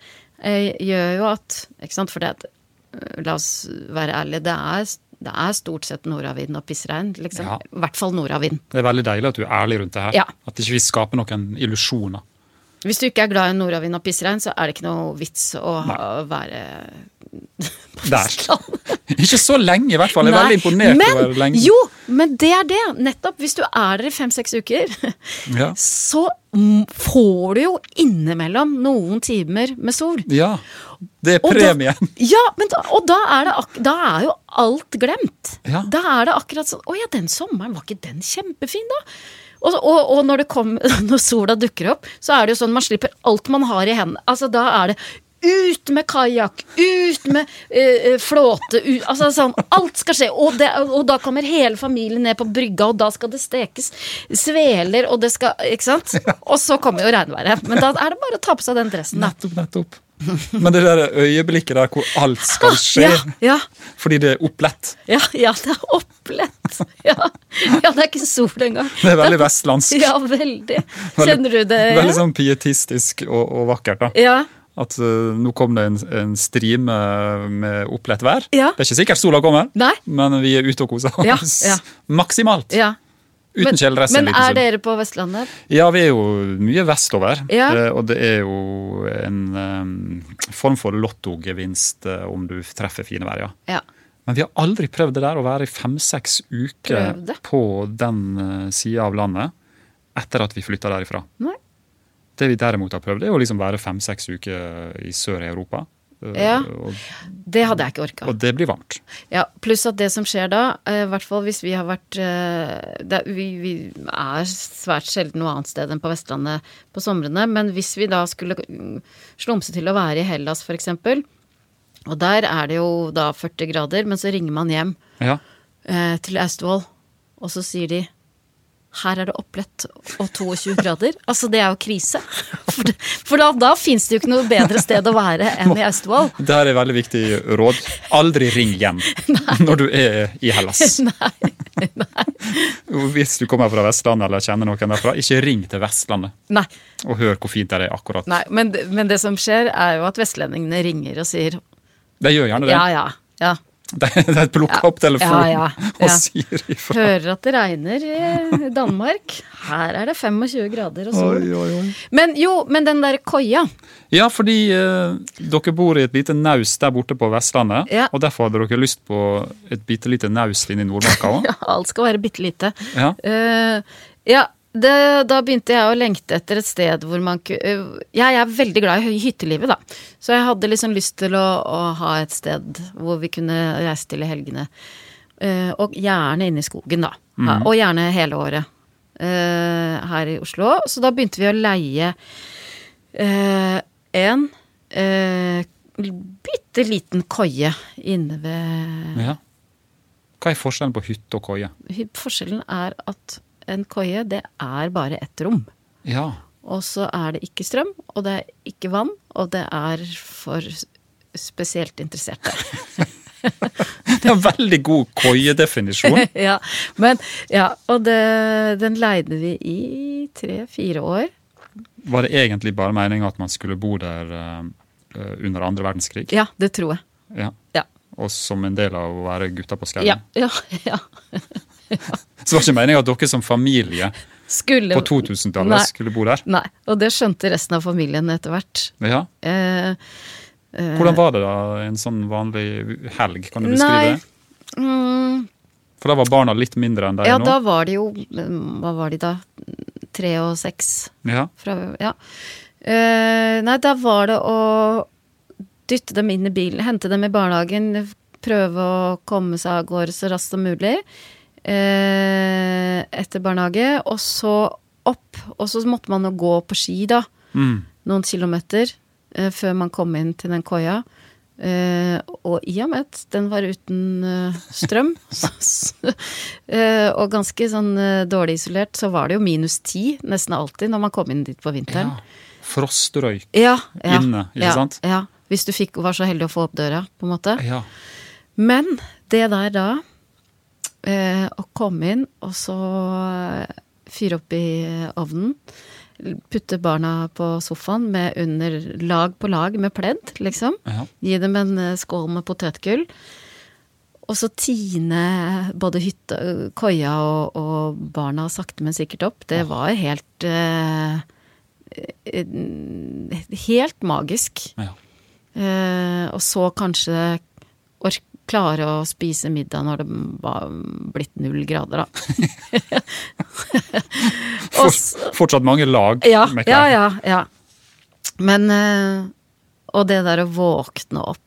eh, gjør jo at Ikke sant, for det at eh, La oss være ærlige, det er, det er stort sett nordavind og pissregn, liksom.
Ja.
I hvert fall nordavind.
Det er veldig deilig at du er ærlig rundt det her.
Ja.
At ikke vi skaper noen
[laughs]
illusjoner.
Hvis du ikke er glad i nordavind og pissregn, så er det ikke noe vits å ha, være [laughs]
Der. Ikke så lenge, i hvert fall. Jeg er
Nei,
veldig imponert
Men
over lengden.
jo, Men det er det. Nettopp. Hvis du er der i fem-seks uker,
Ja.
[laughs] så m- får du jo innimellom noen timer med sol.
ja. Det er
Og da-
premien.
Ja, men da, og da er, det ak da er jo alt glemt.
Ja.
Da er det akkurat sånn Å ja, den sommeren, var ikke den kjempefin, da? Og, og, og når, det kom, [laughs] når sola dukker opp, så er det jo sånn man slipper alt man har i hendene. Altså, da er det ut med kajakk, ut med eh, eh, flåte ut, altså sånn, Alt skal skje. Og, det, og da kommer hele familien ned på brygga, og da skal det stekes sveler, og det skal Ikke sant? Og så kommer jo regnværet. Men da er det bare å ta på seg den dressen, da.
Nettopp, nettopp. Men det der øyeblikket der hvor alt
[laughs]
skal skje
Ja, ja.
fordi det er opplett,
Ja, ja, det er opplett. Ja. ja, det er ikke sol engang.
det er veldig vestlandsk.
Ja, veldig. Kjenner du det?
Veldig sånn pietistisk og, og vakkert. da.
Ja.
At eh, nå kom det en, en strime med opplett vær.
Ja.
Det er ikke sikkert sola kommer,
Nei.
men vi er ute og koser
Ja,
oss
ja.
[laughs] maksimalt.
ja.
Uten kjeledress en
Men
liten
er
stund.
dere på Vestlandet?
Ja, vi er jo mye vestover.
Ja.
eh, Og det er jo en eh, form for lottogevinst eh, om du treffer fine vær, ja.
Ja.
Men vi har aldri prøvd det der å være i fem-seks uker
Prøvd det.
på den sida av landet etter at vi flytta derifra.
Nei.
Det vi derimot har prøvd, er å liksom være fem-seks uker i sør i Europa. eh,
Ja.
Og,
Det hadde jeg ikke orka.
og det blir varmt.
Ja, pluss at det som skjer da, eh, i hvert fall hvis vi har vært eh, det, er- vi, vi er svært sjelden noe annet sted enn på Vestlandet på somrene, men hvis vi da skulle mm, slumse til å være i Hellas f.eks., og der er det jo da 40 grader, men så ringer man hjem
Ja.
eh, til Austevoll, og så sier de her er det opplett og 22 grader. [laughs] Altså, det er jo krise. For, det, for da, da fins det jo ikke noe bedre sted å være enn i Austevoll.
Det her er veldig viktig råd. Aldri ring hjem når du er i Hellas.
[laughs] Nei.
Hvis du kommer fra Vestlandet eller kjenner noen derfra, ikke ring til Vestlandet
[laughs] Nei.
og hør hvor fint det er akkurat.
Nei, men, det- men det som skjer er jo at vestlendingene ringer og sier
De gjør gjerne det.
ja, ja, ja.
[laughs] De, de plukker opp telefonen
Ja, ja, ja.
og sier ifra.
Hører at det regner i Danmark. Her er det 25 grader og sol.
Oi, oi, oi.
Men jo, men den der koia.
Ja, fordi eh, dere bor i et lite naus der borte på Vestlandet,
Ja.
og derfor hadde dere lyst på et bitte lite naus inne i Nordmarka
[laughs]
òg.
Ja, alt skal være bitte lite.
Ja.
Eh, ja, det, da begynte jeg å lengte etter et sted hvor man ku- eh, Jeg er veldig glad i høy- hyttelivet, da. Så jeg hadde liksom lyst til å, å ha et sted hvor vi kunne reise til i helgene. Eh, og gjerne inne i skogen, da. Ja, og gjerne hele året. eh, her i Oslo. Så da begynte vi å leie eh, en eh, bitte liten koie inne ved
Ja. Hva er forskjellen på hytte og koie?
Hy- Forskjellen er at en koie, det er bare ett rom.
Ja. [laughs]
Og så er det ikke strøm, og det er ikke vann, og det er for s- spesielt interesserte. [laughs]
Det er en veldig god koiedefinisjon.
[laughs] ja, men, ja, og det, den leide vi i tre-fire år.
Var det egentlig bare meninga at man skulle bo der eh, eh, under andre verdenskrig?
Ja, det tror jeg.
Ja.
Ja.
Og som en del av å være gutta på skauen?
Ja, ja, ja.
[laughs] Så det var ikke meninga at dere som familie
Skulle
på
Nei.
2000-tallet skulle bo der?
Nei, og det skjønte resten av familien etter hvert.
Ja.
Eh,
Hvordan var det da, en sånn vanlig helg? Kan du beskrive
nei
det?
mm,
For da var barna litt mindre enn de
Ja,
er nå?
da var det jo mm, Hva var de da? Tre og seks?
Ja.
Fra, ja. Eh, nei, da var det å dytte dem inn i bilen, hente dem i barnehagen, prøve å komme seg av gårde så raskt som mulig eh, etter barnehage, og så opp. Og så måtte man jo gå på ski, da,
Mm.
noen kilometer eh, før man kom inn til den koia. Eh, og i og med at den var uten eh,
[laughs]
strøm, [laughs] så, så, eh, og ganske sånn eh, dårlig isolert, så var det jo minus ti nesten alltid når man kom inn dit på
ja.
vinteren.
Frostrøyk
Ja, ja,
inne, ikke
ja,
sant?
Ja, hvis du fikk, var så heldig å få opp døra, på en måte.
Ja.
Men det der da, eh, å komme inn og så eh, fyre opp i ovnen, putte barna på sofaen med under lag på lag med pledd, liksom.
ja.
Gi dem en eh, skål med potetgull. Og så tine både hytta, koia og, og barna sakte, men sikkert opp. Det var helt eh, eh, Helt magisk.
ja.
Eh, og så kanskje ork klare å spise middag når det var blitt null grader, da. [laughs] Og s-
Fort, fortsatt mange lag
ja,
med
ja,
klær.
ja, ja. Men eh, Og det der å våkne opp.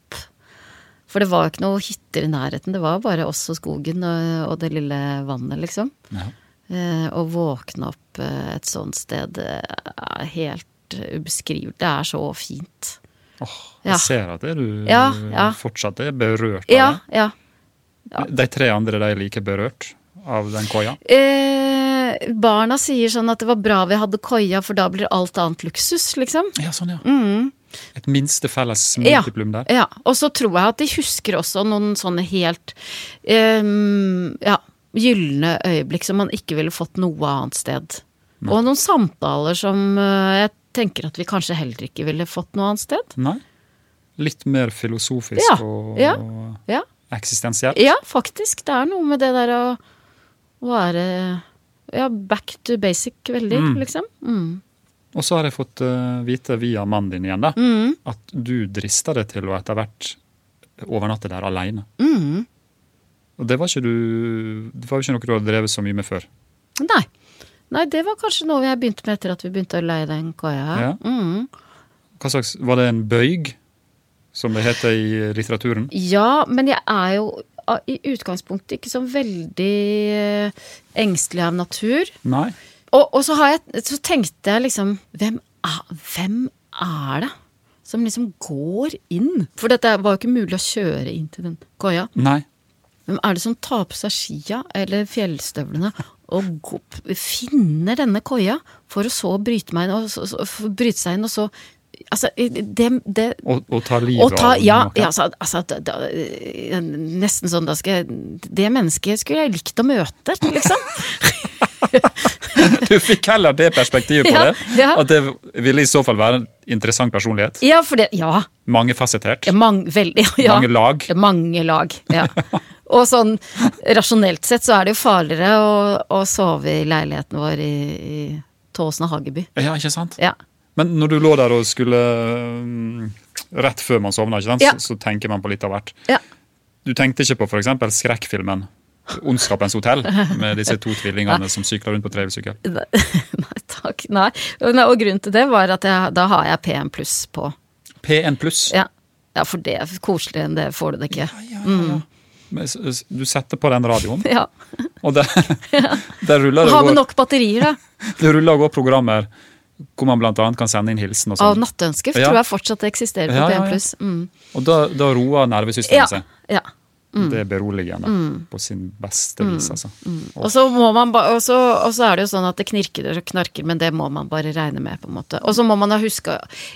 For det var jo ikke noe hytter i nærheten. Det var bare oss og skogen og, og det lille vannet, liksom.
Ja.
Eh, Å våkne opp eh, et sånt sted eh, er helt ubeskrivelig. Det er så fint.
Åh,
Ja.
Jeg ser at det er du
Ja, ja.
fortsatt er berørt
Ja,
av det.
ja. ja.
De tre andre de er like berørt av den koia.
Eh, barna sier sånn at det var bra vi hadde koia, for da blir alt annet luksus, liksom.
Ja, sånn, ja.
Mm.
Et minste felles
Ja.
multiplum der.
Ja, og så tror jeg at de husker også noen sånne helt eh, ja, gylne øyeblikk som man ikke ville fått noe annet sted. Og noen samtaler som eh, jeg tenker at vi kanskje heller ikke ville fått noe annet sted.
Nei. Litt mer filosofisk
Ja,
og,
ja.
og
Ja,
eksistensielt.
ja faktisk. Det er noe med det der å å være ja, back to basic, veldig,
Mm.
liksom. Mm.
Og så har jeg fått eh, vite via mannen din igjen da,
Mm.
at du drista deg til å etter hvert overnatte der alene.
Mm.
Og det var ikke du Det var jo ikke noe du hadde drevet så mye med før.
Nei. Nei, det var kanskje noe jeg begynte med etter at vi begynte å leie den kaia.
Ja.
Mm.
Hva slags, Var det en bøyg, som det heter i litteraturen?
Ja, men jeg er jo ah, i utgangspunktet ikke så veldig eh, engstelig av natur.
Nei.
Og, og så, har jeg, så tenkte jeg liksom hvem er, hvem er det som liksom går inn? For dette var jo ikke mulig å kjøre inn til den koia.
Nei.
Hvem er det som tar på seg skia eller fjellstøvlene og gå- finner denne koia for å så bryte, meg inn, og så, så, for å bryte seg inn, og så Altså, det, det,
Og, og ta livet
og ta,
av [laughs]
ja,
noen.
ja, altså, altså da, da, eh, Nesten sånn da skal jeg, Det mennesket skulle jeg likt å møte, liksom.
[laughs] Du fikk heller det perspektivet
[laughs]
på
Ja,
det.
ja.
At det ville i så fall være en interessant personlighet.
Ja, for det Ja.
Mangefasettert.
ja, Mang, veldig, ja.
Mange lag.
Ja, Mange lag. Ja. Og sånn rasjonelt sett så er det jo farligere å, å sove i leiligheten vår i, i Tåsen og Hageby.
Ja, ikke sant?
Ja.
Men når du lå der og skulle mm, Rett før man sovna, ikke sant?
Ja.
Så, så tenker man på litt av hvert.
ja.
Du tenkte ikke på f.eks. skrekkfilmen 'Ondskapens hotell', med disse to
[laughs]
tvillingene som sykler rundt på trehjulssykkel.
Nei [laughs] takk. Nei. Og grunnen til det var at jeg, da har jeg P1 pluss på.
P1 pluss.
Ja. ja, for det er koseligere enn det får du det ikke.
Ja, ja,
Mm.
ja. Men s- s- Du setter på den radioen,
Ja.
og
[laughs]
der, der ruller det
Ha med
går-
nok batterier, da.
det ruller og går programmer hvor man bl.a. kan sende inn hilsen og
Av
sånn.
nattønske
Ja.
tror jeg fortsatt det eksisterer på
Ja, ja, Sånn ja.
P1+. Mm.
Og da, da roer nervesystemet
Ja, Mm.
seg.
ja.
Det er beroligende på sin beste
Mm.
vis, altså.
Og så må man ba, og så, og så er det jo sånn at det knirker og knarker, men det må man bare regne med, på en måte. Og så må man ha huska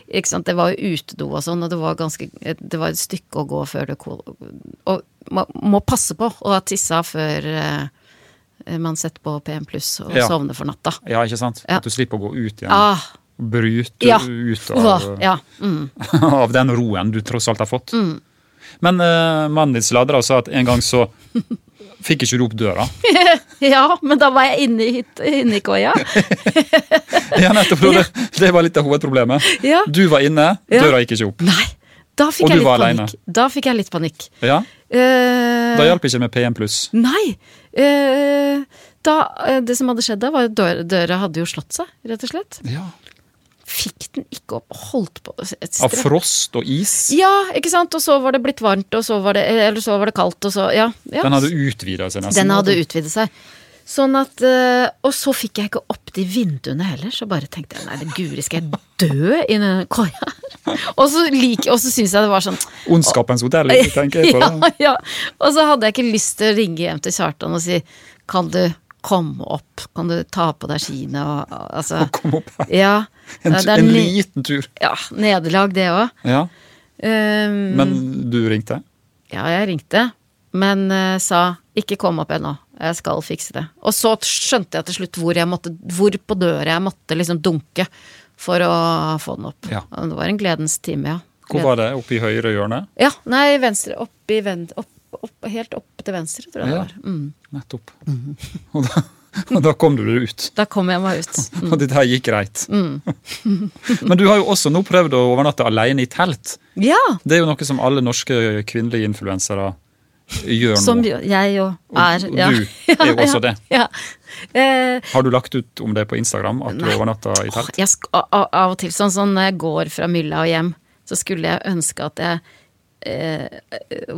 ikke sant, Det var jo utedo og sånn, og det var, ganske, det var et stykke å gå før det kol... Og man må passe på å ha tissa før eh, man setter på P1 pluss og
Ja. Mm.
sovner for natta.
Ja, ikke sant?
Ja.
At du slipper å gå ut igjen.
Ah,
Bryte
ja.
ut av,
Åh, ja. Mm.
[laughs] av den roen du tross alt har fått. Men eh, mannen din sladra og sa at en gang så fikk ikke du opp døra.
ja, men da var jeg inne i, hytt- inne i
[laughs]
koia.
Ja, nettopp, det, det var litt av hovedproblemet.
Ja.
Du var inne,
Ja.
døra gikk ikke opp.
Nei! Da fikk
Og
jeg
du
litt
var
panikk.
alene.
Da fikk jeg litt panikk.
Ja,
Eh,
Da hjalp ikke med P1 pluss.
Nei! eh, da, eh, det som hadde skjedd da, var at døra, døra hadde jo slått seg, rett og slett.
Ja.
Fikk den ikke opp, holdt på et
Av
strev.
frost og is.
Ja, ikke sant? Og så var det blitt varmt, og så var det, eller så var det kaldt, og så Ja. ja.
Den hadde utvida seg nesten.
Den hadde utvidet seg. Sånn at, eh, Og så fikk jeg ikke opp de vinduene heller, så bare tenkte jeg nei, det guri, skal jeg dø i denne koia? her?» [laughs] Og så, like, og så syntes jeg det var sånn
Ondskapens hotell, tenker jeg på. det.
[laughs] ja, ja. Og så hadde jeg ikke lyst til å ringe hjem til Kjartan og si kan du komme opp, kan du ta på deg skiene og og- altså
Kom opp her.
Ja.
[laughs] En,
det er
en
ne-
liten tur.
ja, nederlag, det òg.
Ja,
Um,
Men du ringte?
ja, jeg ringte, men eh, sa ikke kom opp ennå, jeg skal fikse det. Og så t- skjønte jeg til slutt hvor, jeg måtte, hvor på døra jeg måtte liksom dunke for å få den opp.
Ja.
Og Det var en gledens time, ja.
Hvor var det? Oppe i høyre hjørne?
Ja, nei, venstre, opp i ven, opp, opp, helt opp til venstre, tror jeg det
Ja.
var. Mm.
Nettopp. [laughs] og, da, og da kom du deg ut.
Da kom jeg meg ut.
Og dette her gikk greit.
Mm.
[laughs] Men du har jo også nå prøvd å overnatte alene i telt.
[laughs] Ja!
Det er jo noe som alle norske kvinnelige influensere gjør nå.
Som jo- jeg jo er.
og
ja.
[laughs] du er jo
Ja,
også
ja,
det.
Ja. Eh,
Har du lagt ut om det på Instagram, at du
Nei.
overnatta i telt?
jeg, sk- a- a- av og til, sånn som når jeg går fra mylla og hjem, så skulle jeg ønske at jeg eh,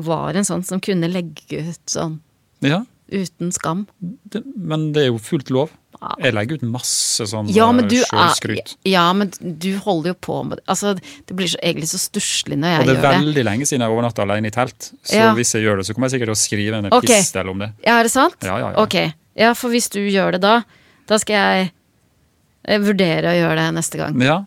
var en sånn som kunne legge ut sånn
Ja,
uten skam.
det, men det er jo fullt lov.
Ja.
Jeg legger ut masse sånn
Ja, men du ah,
eh,
er
sjølskryt.
Ja, men du holder jo på med det. Altså, det blir så, egentlig så stusslig når
Og
jeg
det er
gjør det.
veldig lenge siden jeg overnatta alene i telt, så
Ja.
hvis jeg gjør det, så kommer jeg sikkert til å skrive en
Ok.
pistol om det.
Ja, er det sant?
Ja, ja, ja.
Ok. Ja, for hvis du gjør det da, da skal jeg eh, vurdere å gjøre det neste gang.
Ja,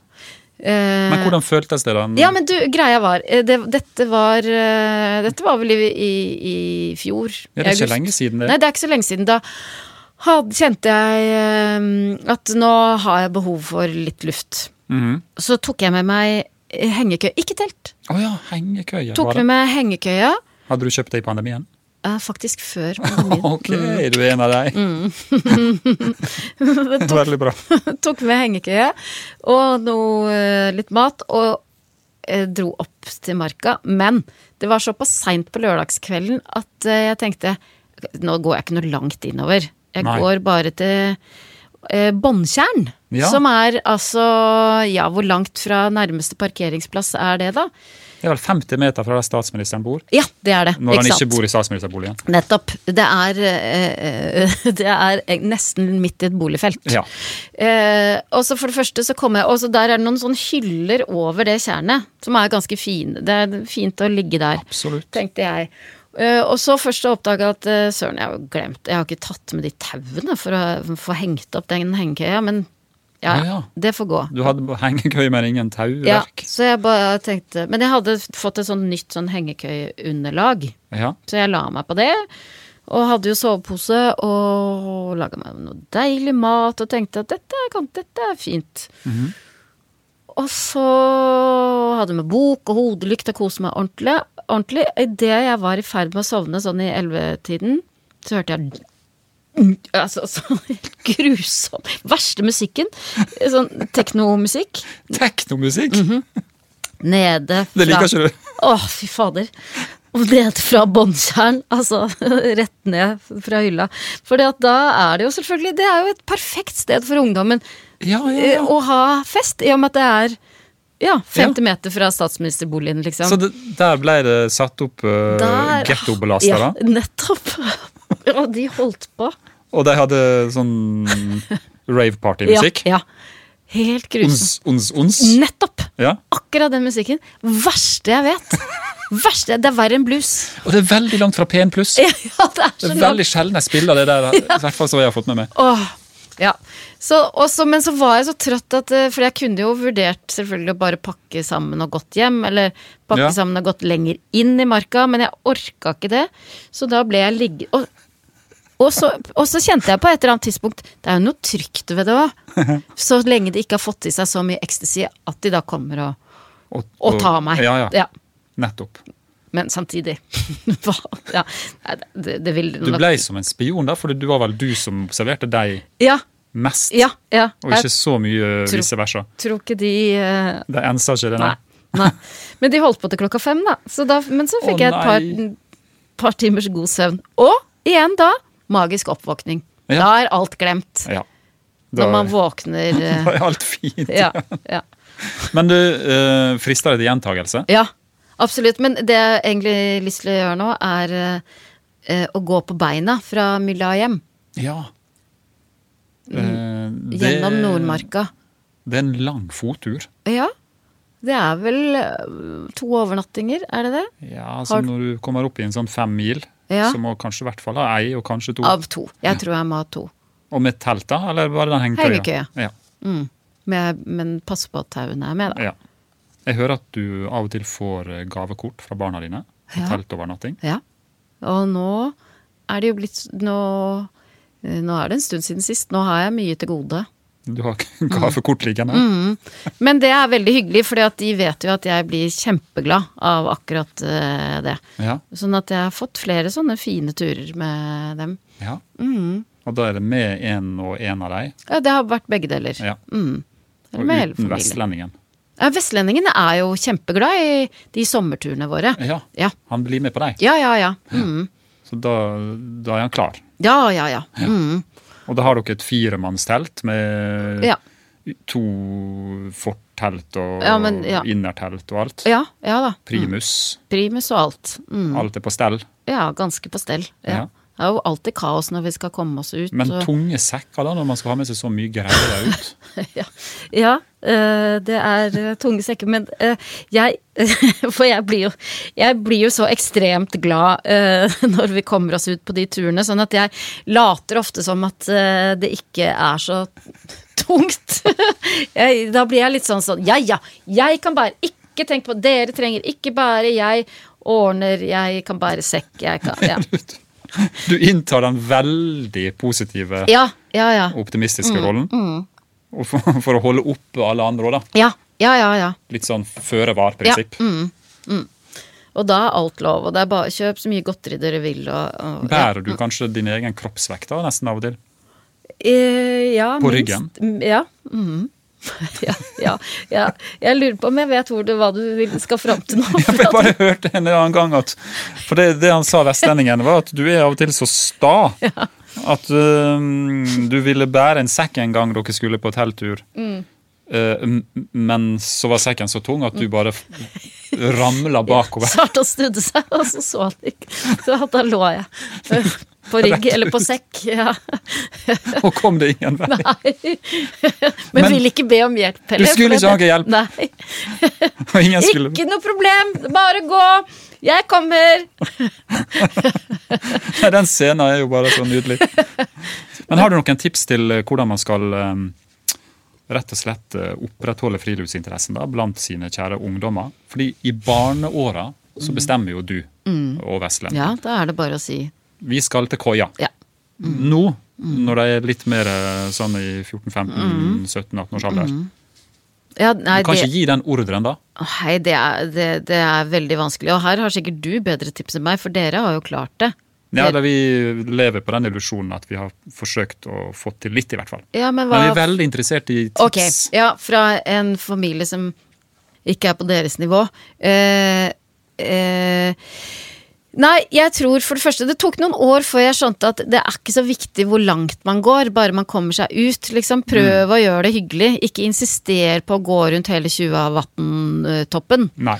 Eh,
Men hvordan føltes det da?
Ja, men du, greia var eh, det, Dette var eh, Dette var vel i, i, i fjor.
Ja, det er
i
ikke
august.
lenge siden det.
Nei, det er ikke så lenge siden. Da had, kjente jeg eh, at nå har jeg behov for litt luft.
Mhm.
Så tok jeg med meg eh, hengekøye. Ikke telt.
Å ja, hengekøye.
Tok
var det.
med meg hengekøya
Hadde du kjøpt det i pandemien?
eh, faktisk før
[laughs]
pandemien.
Ok, du er en av deg.
Mm. [laughs]
Veldig bra.
tok med hengekøye og noe, eh, litt mat og eh, dro opp til marka. Men det var såpass seint på lørdagskvelden at eh, jeg tenkte nå går jeg ikke noe langt innover. Jeg
Nei.
går bare til eh, Båndtjern.
Ja.
Som er altså Ja, hvor langt fra nærmeste parkeringsplass er det, da?
Det er vel 50 meter fra der statsministeren bor,
Ja, det er det.
når han ikke bor i statsministerboligen.
Nettopp. Det er, eh, eh, [laughs] det er nesten midt i et boligfelt.
Ja.
Eh, og så for det første så kom jeg Og så der er det noen sånne hyller over det tjernet, som er ganske fine. Det er fint å ligge der,
Absolutt.
tenkte jeg. Eh, og så først å oppdage at eh, søren, jeg har jo glemt Jeg har ikke tatt med de tauene for å få hengt opp den hengekøya, men ja,
Ja, ja.
det får gå.
Du hadde bare hengekøye, men ingen
Ja,
tauverk.
så jeg bare tenkte Men jeg hadde fått et sånn nytt sånn hengekøyeunderlag.
Ja.
Så jeg la meg på det, og hadde jo sovepose og laga meg noe deilig mat og tenkte at dette, kan, dette er fint.
Mhm.
Og så hadde jeg med bok og hodelykt og koste meg ordentlig. ordentlig. Idet jeg var i ferd med å sovne sånn i ellevetiden, så hørte jeg [laughs] Altså, så helt grusom Verste musikken. Sånn teknomusikk.
Teknomusikk!
Mhm. Nede fra
Det liker ikke du.
å, fy fader. Og ned fra båndtjern, altså [laughs] rett ned fra hylla. For da er det jo selvfølgelig Det er jo et perfekt sted for ungdommen
Ja, ja,
eh,
ja.
å ha fest, i og med at det er ja, 50 meter fra statsministerboligen, liksom.
Så det, der ble det satt opp uh,
Der-
gettobelastere,
Ja, nettopp. [laughs] Og de holdt på.
og de hadde sånn ravepartymusikk.
Ja, ja. Mm. Helt grusomt.
Ons, ons, ons.
Nettopp!
Ja.
Akkurat den musikken. Verste jeg vet. Verste, Det er verre enn blues. [laughs]
Og det er veldig langt fra P1 pluss.
Ja, det er
Det
så
er
langt.
veldig sjelden jeg spiller det
[laughs]
der, i hvert fall så jeg har fått med meg.
Åh, ja. Så, også, men så var jeg så trøtt at eh, For jeg kunne jo vurdert selvfølgelig å bare pakke sammen og gått hjem, eller pakke
Ja.
sammen og gått lenger inn i marka, men jeg orka ikke det. Så da ble jeg ligge... Og, og, så, og så kjente jeg på et eller annet tidspunkt Det er jo noe trygt ved det òg.
[laughs]
Så lenge de ikke har fått i seg så mye ecstasy at de da kommer og,
Og,
og tar meg.
Ja, ja.
Ja,
Nettopp. Men
men samtidig [laughs] Hva? Ja, nei, det, det vil
Du ble som en spion, da, for det var vel du som observerte deg
Ja,
mest,
ja, ja.
og ikke så mye eh,
Tro-
vice versa.
Jeg tror ikke de eh,
Det ensa ikke det, nei.
Nei. nei. Men de holdt på til klokka fem, da. Så da men så fikk
Å,
jeg et par, par timers god søvn. Og igjen da magisk oppvåkning.
Ja.
Da er alt glemt.
Ja.
Når man
Da [laughs]
våkner eh,
da er alt fint.
ja, ja.
Men du, eh, frister det til gjentagelse?
ja, absolutt. Men det jeg egentlig har lyst til å gjøre nå, er eh, eh, å gå på beina fra mylla og hjem.
Ja. Eh, det-
Mm. Gjennom Nordmarka.
Det er en lang fottur.
Ja. Det er vel eh, to overnattinger, er det det?
Ja,
Har-
så Når du kommer opp i en sånn fem mil,
Ja.
så må du kanskje i hvert fall ha ei og kanskje to.
Av to. Jeg tror jeg må ha to.
Og med telt, da? Eller bare den hengekøya?
Hengekøya.
Ja.
Mm. Men, jeg- men pass på at tauene er med, da.
Ja. Jeg hører at du av og til får eh, gavekort fra barna dine. for
Ja.
Teltovernatting.
Ja. Og nå er det jo blitt nå, eh, nå er det en stund siden sist. Nå har jeg mye til gode.
Du har
Mm.
ikke gavekort liggende.
Men det er veldig hyggelig, for de vet jo at jeg blir kjempeglad av akkurat eh, det.
Ja,
Sånn at jeg har fått flere sånne fine turer med dem.
ja. Og da er det med én og én av deg.
Ja, det har vært begge deler.
Ja.
Mm. Eller
Og
med hele
uten
familien.
vestlendingen.
Ja, vestlendingene er jo kjempeglad i de sommerturene våre.
Ja,
Ja.
han blir med på deg.
Ja, ja, ja. Mm.
Så da, da er han klar.
Ja, ja, ja. Mm.
Og da har dere et firemannstelt med
Ja.
to fortelt og
Ja, men, ja.
innertelt og alt.
ja. Ja da.
Primus.
Primus og alt. Mm.
Alt er på stell.
Ja, ganske på stell.
Ja.
Ja. Det er jo alltid kaos når vi skal komme oss ut.
Men
og-
tunge sekker da, når man skal ha med seg så mye greier der ut.
[laughs] Ja, ja eh, det er eh, tunge sekker. Men eh, jeg [laughs] For jeg blir jo, jeg blir jo så ekstremt glad eh, [laughs] når vi kommer oss ut på de turene, sånn at jeg later ofte som at eh, det ikke er så tungt. [laughs] jeg, da blir jeg litt sånn sånn Ja, ja, jeg kan bære. Ikke tenk på Dere trenger ikke bære. Jeg ordner. Jeg kan bære sekk. Jeg kan Ja,
[laughs] Du inntar den veldig positive,
ja, Mm, ja. ja.
optimistiske rollen. Og for, for å holde oppe alle andre òg, da.
Ja, ja, ja, ja.
Litt sånn føre var-prinsipp.
Og da er alt lov. Og det er bare kjøp så mye godteri dere vil. Og, og, ja.
Bærer du kanskje din egen kroppsvekt da, nesten av og til?
Eh, ja,
På
minst.
ryggen?
Mm, Ja. mhm. [laughs] ja, ja, ja. Jeg lurer på om jeg vet hvor du, hva du vil, skal fram til nå.
[laughs] Ja, for Jeg bare hørte en eller annen gang at For det, det han sa, vestlendingen, var at du er av og til så sta at øhm, du ville bære en sekk en gang dere skulle på telttur.
Mm.
Eh, m- men så var sekken så tung at
Mm.
du bare f- ramla
[laughs]
bakover.
Så hardt han snudde seg, og så så han ikke. Så da lå jeg eh,
[laughs]
på rygg, eller på sekk. [laughs] Ja.
Og kom det ingen vei.
Nei. [laughs] Men,
Men-
vil ikke be om hjelp heller.
Du skulle
for
ikke
det-
ha hjelp.
Nei.
Og ingen skulle
Ikke noe problem, bare gå! Jeg
[laughs]
kommer!
Nei, [laughs] Den scenen er jo bare så nydelig. Men har du noen tips til eh, hvordan man skal eh, rett og slett eh, opprettholde friluftsinteressen da, blant sine kjære ungdommer? Fordi i barneåra så bestemmer jo du og Veslen.
Mm. Ja, da er det bare å si
Vi skal til koia.
ja. Mm.
Nå, når de er litt mer eh, sånn i 14-15-17-18-årsalder.
ja nei,
Du kan
Mm. det-
ikke gi den ordren da.
Å, Hei, det er, det, det er veldig vanskelig. Og her har sikkert du bedre tips enn meg, for dere har jo klart det.
Ja,
Dere-
da Vi lever på den illusjonen at vi har forsøkt å få til litt, i hvert fall.
ja men hva
Men vi er veldig interessert i tips.
Ok, ja, fra en familie som ikke er på deres nivå. Eh, eh, nei, jeg tror for det første Det tok noen år før jeg skjønte at det er ikke så viktig hvor langt man går, bare man kommer seg ut. Liksom,
Mm.
prøv å gjøre det hyggelig. Ikke insister på å gå rundt hele 20-vatn-toppen.
Nei.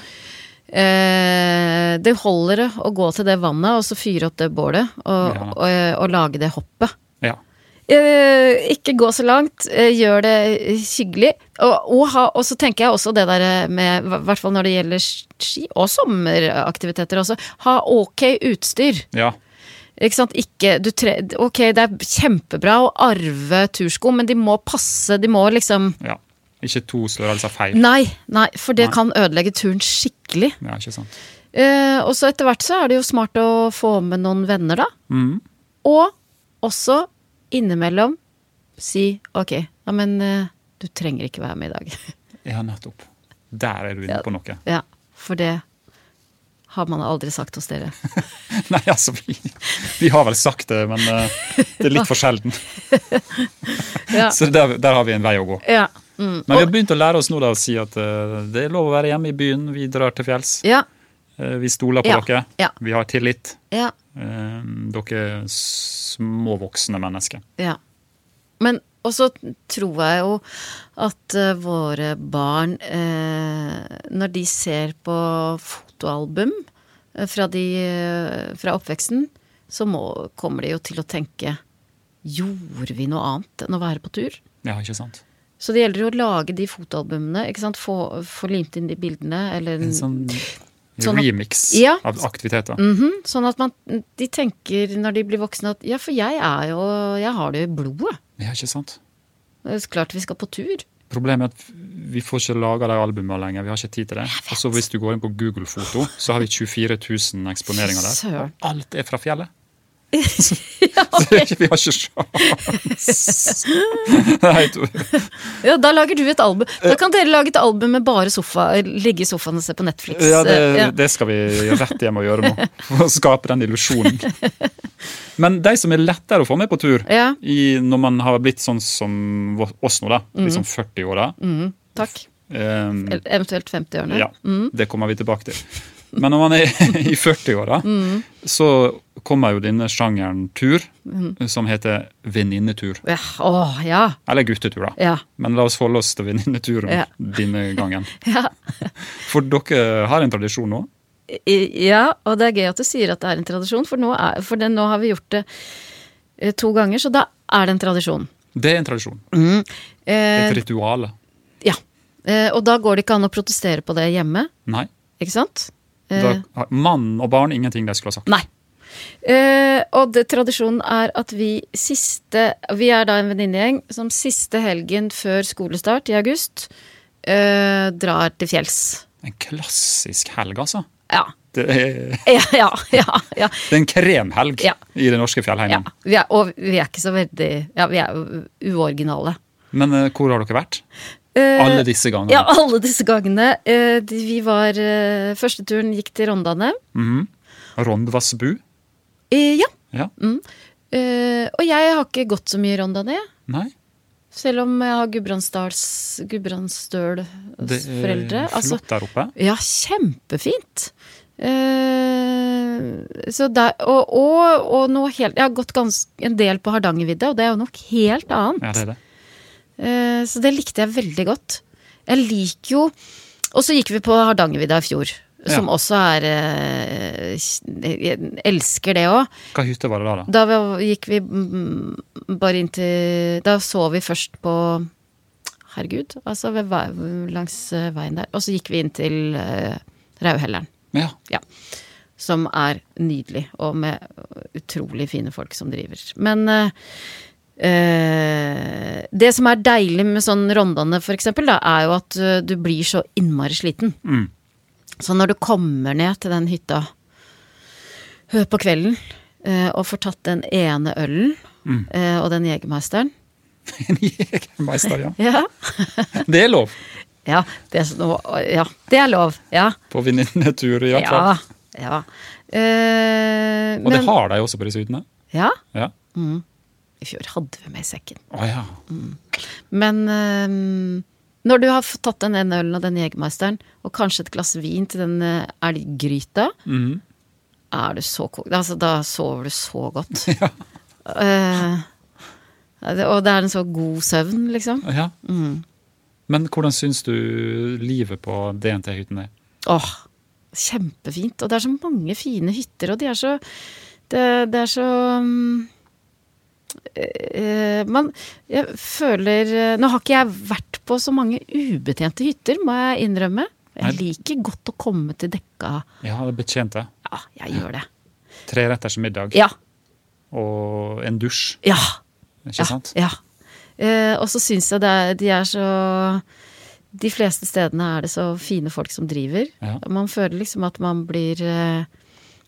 Eh, det holder det å gå til det vannet og så fyre opp det bålet og,
Ja.
og, eh, og, lage det hoppet.
Ja.
Eh, ikke gå så langt, eh, gjør det hyggelig. Og, og, ha, og så tenker jeg også det der eh, med, i hvert fall når det gjelder ski og sommeraktiviteter også, ha ok utstyr.
ja.
Ikke sant? Ikke, du tre, ok, det er kjempebra å arve tursko, men de må passe, de må liksom
Ja. Ikke to størrelser feil.
Nei, nei, for det
Nei.
kan ødelegge turen skikkelig.
Ja, ikke sant?
Eh, og så etter hvert så er det jo smart å få med noen venner, da.
Mhm.
Og også innimellom si ok, ja, men eh, du trenger ikke være med i dag. [laughs]
Ja, nettopp. Der er du inne
Ja.
på noe.
ja, for det har man aldri sagt hos dere.
[laughs] Nei, altså, vi, vi har vel sagt det, men eh, det er litt for sjelden.
Ja.
Så der, der har vi en vei å gå.
Ja. Mm.
Men vi har begynt å lære oss nå da å si at eh, det er lov å være hjemme i byen, vi drar til fjells.
ja.
Eh, vi stoler på
Ja.
dere.
Ja.
Vi har tillit.
Ja.
Eh, dere er småvoksne mennesker.
Ja. Men og så tror jeg jo at eh, våre barn, eh, når de ser på fotoalbum eh, fra, de, eh, fra oppveksten, så må, kommer de jo til å tenke Gjorde vi noe annet enn å være på tur?
Ja, ikke sant?
Så det gjelder jo å lage de fotoalbumene. ikke sant? Få, få limt inn de bildene. Eller
En sånn
Mm. Sånn at-
remix
Ja.
av aktiviteter.
Mhm, sånn at man, de tenker når de blir voksne at ja, for jeg er jo Jeg har det jo i blodet.
Ja, ikke sant?
Det er så klart vi skal på tur.
Problemet er at vi får ikke laga de albumene lenger. Vi har ikke tid til det. Og så hvis du går inn på Google Foto, så har vi 24 000 eksponeringer der.
Søren.
Og alt er fra
[laughs]
fjellet. Så det er ikke- vi har ikke sjans. Nei, du-
Ja, da lager du et album. Da
Eh.
kan dere lage et album med bare sofa, ligge i sofaen og se på Netflix. Eh,
ja,
Ja.
det, det skal vi rett hjem og gjøre nå. For å skape den illusjonen. Men de som er lettere å få med på tur,
Ja,
i, når man har blitt sånn som oss nå, da, liksom 40-åra
takk.
eh,
Mm. Eller Eventuelt Mm. 50-årene.
[laughs]
Mm.
Ja, det kommer vi tilbake til. Men når man er i 40-åra, så kommer jo denne sjangeren tur,
Mm.
som heter venninnetur.
Ja, åh, ja.
Eller guttetur, da.
Ja. [laughs]
Men la oss holde oss til venninneturen
Ja.
[laughs] denne gangen.
Ja.
For dere har en tradisjon nå.
I- Ja, og det er gøy at du sier at det er en tradisjon, for nå, er, for det, nå har vi gjort det eh, to ganger, så da er det en tradisjon.
Det er en tradisjon.
Eh,
Et ritual.
ja. Eh, og da går det ikke an å protestere på det hjemme,
Nei.
ikke sant?
Da
Eh,
har mann og barn ingenting de skulle ha sagt.
nei. Eh, og det, tradisjonen er at vi siste Vi er da en venninnegjeng som siste helgen før skolestart i august eh, drar til fjells.
En klassisk helg, altså.
Ja. [laughs]
Det er,
Ja, ja, ja. ja.
det er en kremhelg
Ja.
i det norske
ja.
fjellheimen.
Vi er, og vi er ikke så veldig Ja, vi er jo uoriginale.
Men eh, hvor har dere vært?
Eh,
Alle disse gangene.
Ja, alle disse gangene. Eh, de- Vi var eh, Første turen gikk til Rondane.
Mhm. Rondvassbu?
Eh, Ja.
Ja.
Mm. Eh, Og jeg har ikke gått så mye i Rondane, jeg.
Nei.
selv om jeg har Gudbrandsdals Gudbrandsdøl-foreldre.
Det er flott
Altså,
der oppe.
ja, kjempefint! Eh, så der, og, og, og noe helt Jeg har gått gans, en del på Hardangervidda, og det er jo noe helt annet.
Ja, det er det.
Eh, Så det likte jeg veldig godt. Jeg liker jo Og så gikk vi på Hardangervidda i fjor.
Ja.
Som også er eh, Jeg elsker det òg.
Hva hytte var det da, da?
Da vi- gikk vi mm, bare inn til Da så vi først på Herregud, altså ved, vei- langs eh, veien der. Og så gikk vi inn til eh, Rauhelleren.
Ja, [laughs]
Ja. Som er nydelig, og med utrolig fine folk som driver. Men eh, eh, det som er deilig med sånn Rondane, for eksempel, da, er jo at eh, du blir så innmari sliten.
Mm.
Så når du kommer ned til den hytta eh, på kvelden eh, og får tatt den ene ølen
Mm.
eh, og den jegermeisteren
en jegermeister, [laughs] ja.
ja.
[laughs] Det er lov
Ja, det er, så- nå- ja, det er lov. Ja.
på venninnetur, i hvert fall.
Ja. ja. Eh,
Og det
men-
har de også på disse hyttene.
Ja.
Ja.
I fjor hadde vi med i sekken.
Å ja.
Men øhm, når du har fått tatt den ene ølen og den jegermeisteren, og kanskje et glass vin til den øh, elggryta,
Mhm.
er du så ko- altså, Da sover du så godt. Eh, det- og det er en så god søvn, liksom.
ja. Men hvordan syns du livet på DNT-hytten er?
Åh, kjempefint. Og det er så mange fine hytter, og de er så Det, det er så mm, eh, man, jeg føler eh, Nå har ikke jeg vært på så mange ubetjente hytter, må jeg innrømme.
Nei.
Jeg liker godt å komme til dekka.
Ja, det betjente.
Ja, jeg gjør det.
Treretters middag
Ja.
og en dusj,
Ja.
ikke
ja,
sant?
ja. Eh, og så syns jeg det er, de er så De fleste stedene er det så fine folk som driver.
Ja.
Man føler liksom at man blir eh,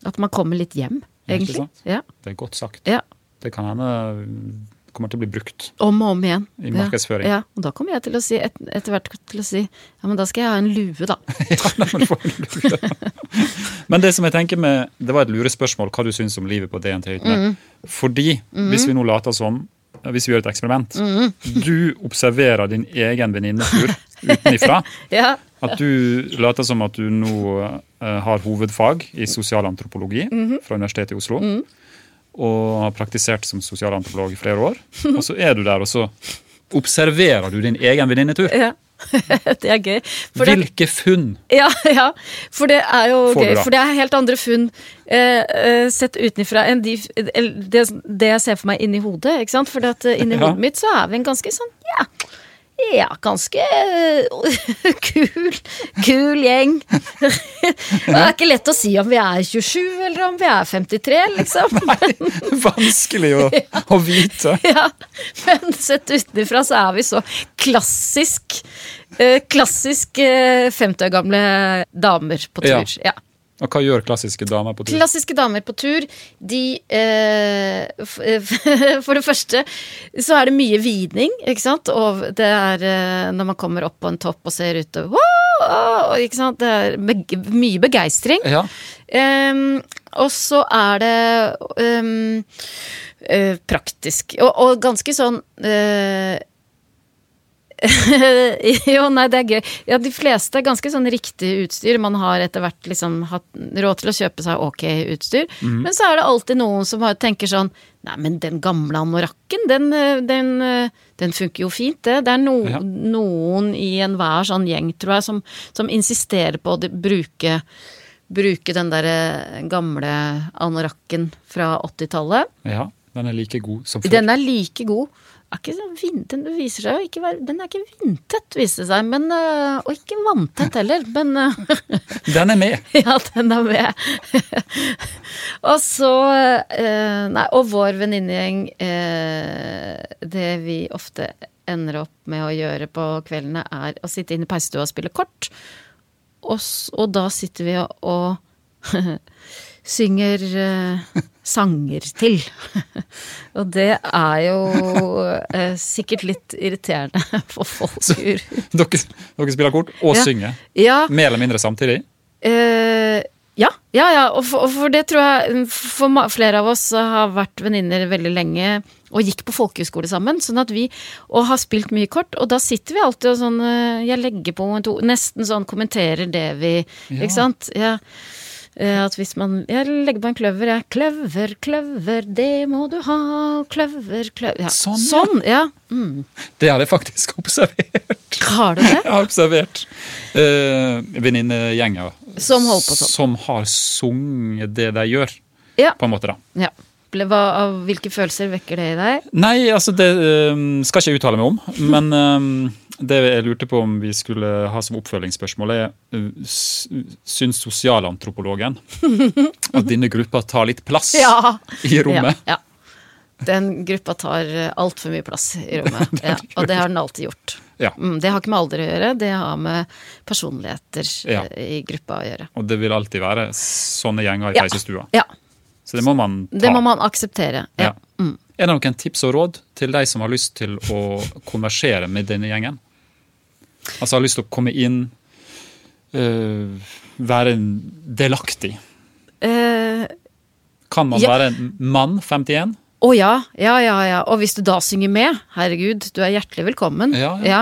At man kommer litt hjem,
Ja, ikke
egentlig.
sant?
Ja,
Det er godt sagt.
ja.
Det kan hende mm, kommer til å bli brukt.
Om og om igjen.
I markedsføring.
Ja, ja. Og da kommer jeg til å si, et, etter hvert til å si ja, men da skal jeg ha en lue, da. [laughs]
Men det som jeg tenker med, det var et lurespørsmål hva du syns om livet på DNT-hyttene.
Mm.
Fordi hvis vi nå later som, hvis vi gjør et eksperiment
Mm.
Du observerer din egen venninnetur utenifra.
Ja.
At du later som at du nå eh, har hovedfag i sosialantropologi
Mm-hmm.
fra Universitetet i Oslo.
Mm.
Og har praktisert som sosialantropolog i flere år. Og så er du der, og så observerer du din egen venninnetur.
ja. [laughs] det er gøy. For det,
Hvilke funn?
ja, [laughs] ja, for det er jo
Får du
gøy.
da?
For det er helt andre funn eh, eh, sett utenfra enn de, eller det, det jeg ser for meg inni hodet. ikke sant? For eh, inni
Ja.
hodet mitt så er vi en ganske sånn ja, ja ganske eh, [laughs] kul, kul gjeng. [laughs] det er ikke lett å si om vi er 27 eller om vi er 53, liksom.
[laughs]
[laughs]
Vanskelig å, å vite.
Ja, men sett utenfra så er vi så klassisk eh, Klassisk eh, 50 år gamle damer på
Ja.
tur. Ja.
Og hva gjør klassiske damer på tur?
Klassiske damer på tur, de eh, f- eh, [laughs] For det første så er det mye vidning, ikke sant? Og det er eh, når man kommer opp på en topp og ser ut og, «Wow!» og Ikke sant? Det er beg mye begeistring.
Ja,
Ehm, og så er det ehm, eh, praktisk. Og, og ganske sånn eh, [laughs] jo, nei, det er gøy. Ja, de fleste er ganske sånn riktig utstyr. Man har etter hvert liksom hatt råd til å kjøpe seg ok utstyr. Men så er det alltid noen som har, tenker sånn Nei, men den gamle anorakken, den, eh, den, eh, den funker jo fint, det. Det er no,
Ja.
noen i enhver sånn gjeng, tror jeg, som, som insisterer på å de- bruke, bruke den derre gamle anorakken fra 80-tallet.
Ja, den er like god som før.
Den er like god. Er ikke sånn vin- den viser seg jo ikke være Den er ikke vindtett, viser det seg. Men, øh, og ikke vanntett heller, men [laughs] øh,
Den er med!
[laughs] ja, den er med. [laughs] og så øh, Nei, og vår venninnegjeng øh, Det vi ofte ender opp med å gjøre på kveldene, er å sitte inne i peisestua og spille kort. Og, s- og da sitter vi og, og [laughs] synger eh, sanger til. [laughs] og det er jo eh, sikkert litt irriterende [laughs] for folk. ur-
Dere, dere spiller kort og
Ja.
synger.
Ja,
Mer eller mindre samtidig.
eh, ja, ja, ja. Og, for, og for det tror jeg mm, for ma- flere av oss har vært venninner veldig lenge og gikk på folkehøyskole sammen. sånn at vi, Og har spilt mye kort. Og da sitter vi alltid og sånn eh, Jeg legger på en to Nesten sånn kommenterer det vi
Ja.
Ikke sant? Ja. Eh, At hvis man Jeg legger på en kløver, jeg. Kløver, kløver, det må du ha. Kløver, kløver ja.
Sånn, ja.
sånn, ja. Mm.
Det har jeg faktisk [laughs] observert.
Har du det?
[laughs] Jeg har observert eh, venninnegjenger
Som holder på sånn.
Som har sunget det de gjør,
Ja.
på en måte, da.
ja. Ble- Hva, av, hvilke følelser vekker det i deg?
Nei, altså det øhm, skal ikke jeg uttale meg om.
[laughs]
Men øhm, det jeg lurte på om vi skulle ha som oppfølgingsspørsmål, er øh, s- Syns sosialantropologen at denne gruppa tar litt
[laughs]
plass i rommet?
Ja, ja. Den gruppa tar altfor mye plass i
[laughs]
rommet. ja, og det har den alltid gjort.
Ja.
Mm, det har ikke med alder å gjøre, det har med personligheter
Ja.
eh, i gruppa å gjøre.
Og det vil alltid være sånne gjenger i
Ja.
peisestua.
Ja.
Så det må man ta.
Det må man akseptere.
Ja.
Ja. Mm.
Er det noen tips og råd til de som har lyst til å konversere med denne gjengen? Altså har lyst til å komme inn, øh, være delaktig.
Eh,
Kan man
Ja.
være en mann 51?
Å ja, ja, ja, ja. Og hvis du da synger med, herregud, du er hjertelig velkommen.
Ja, ja.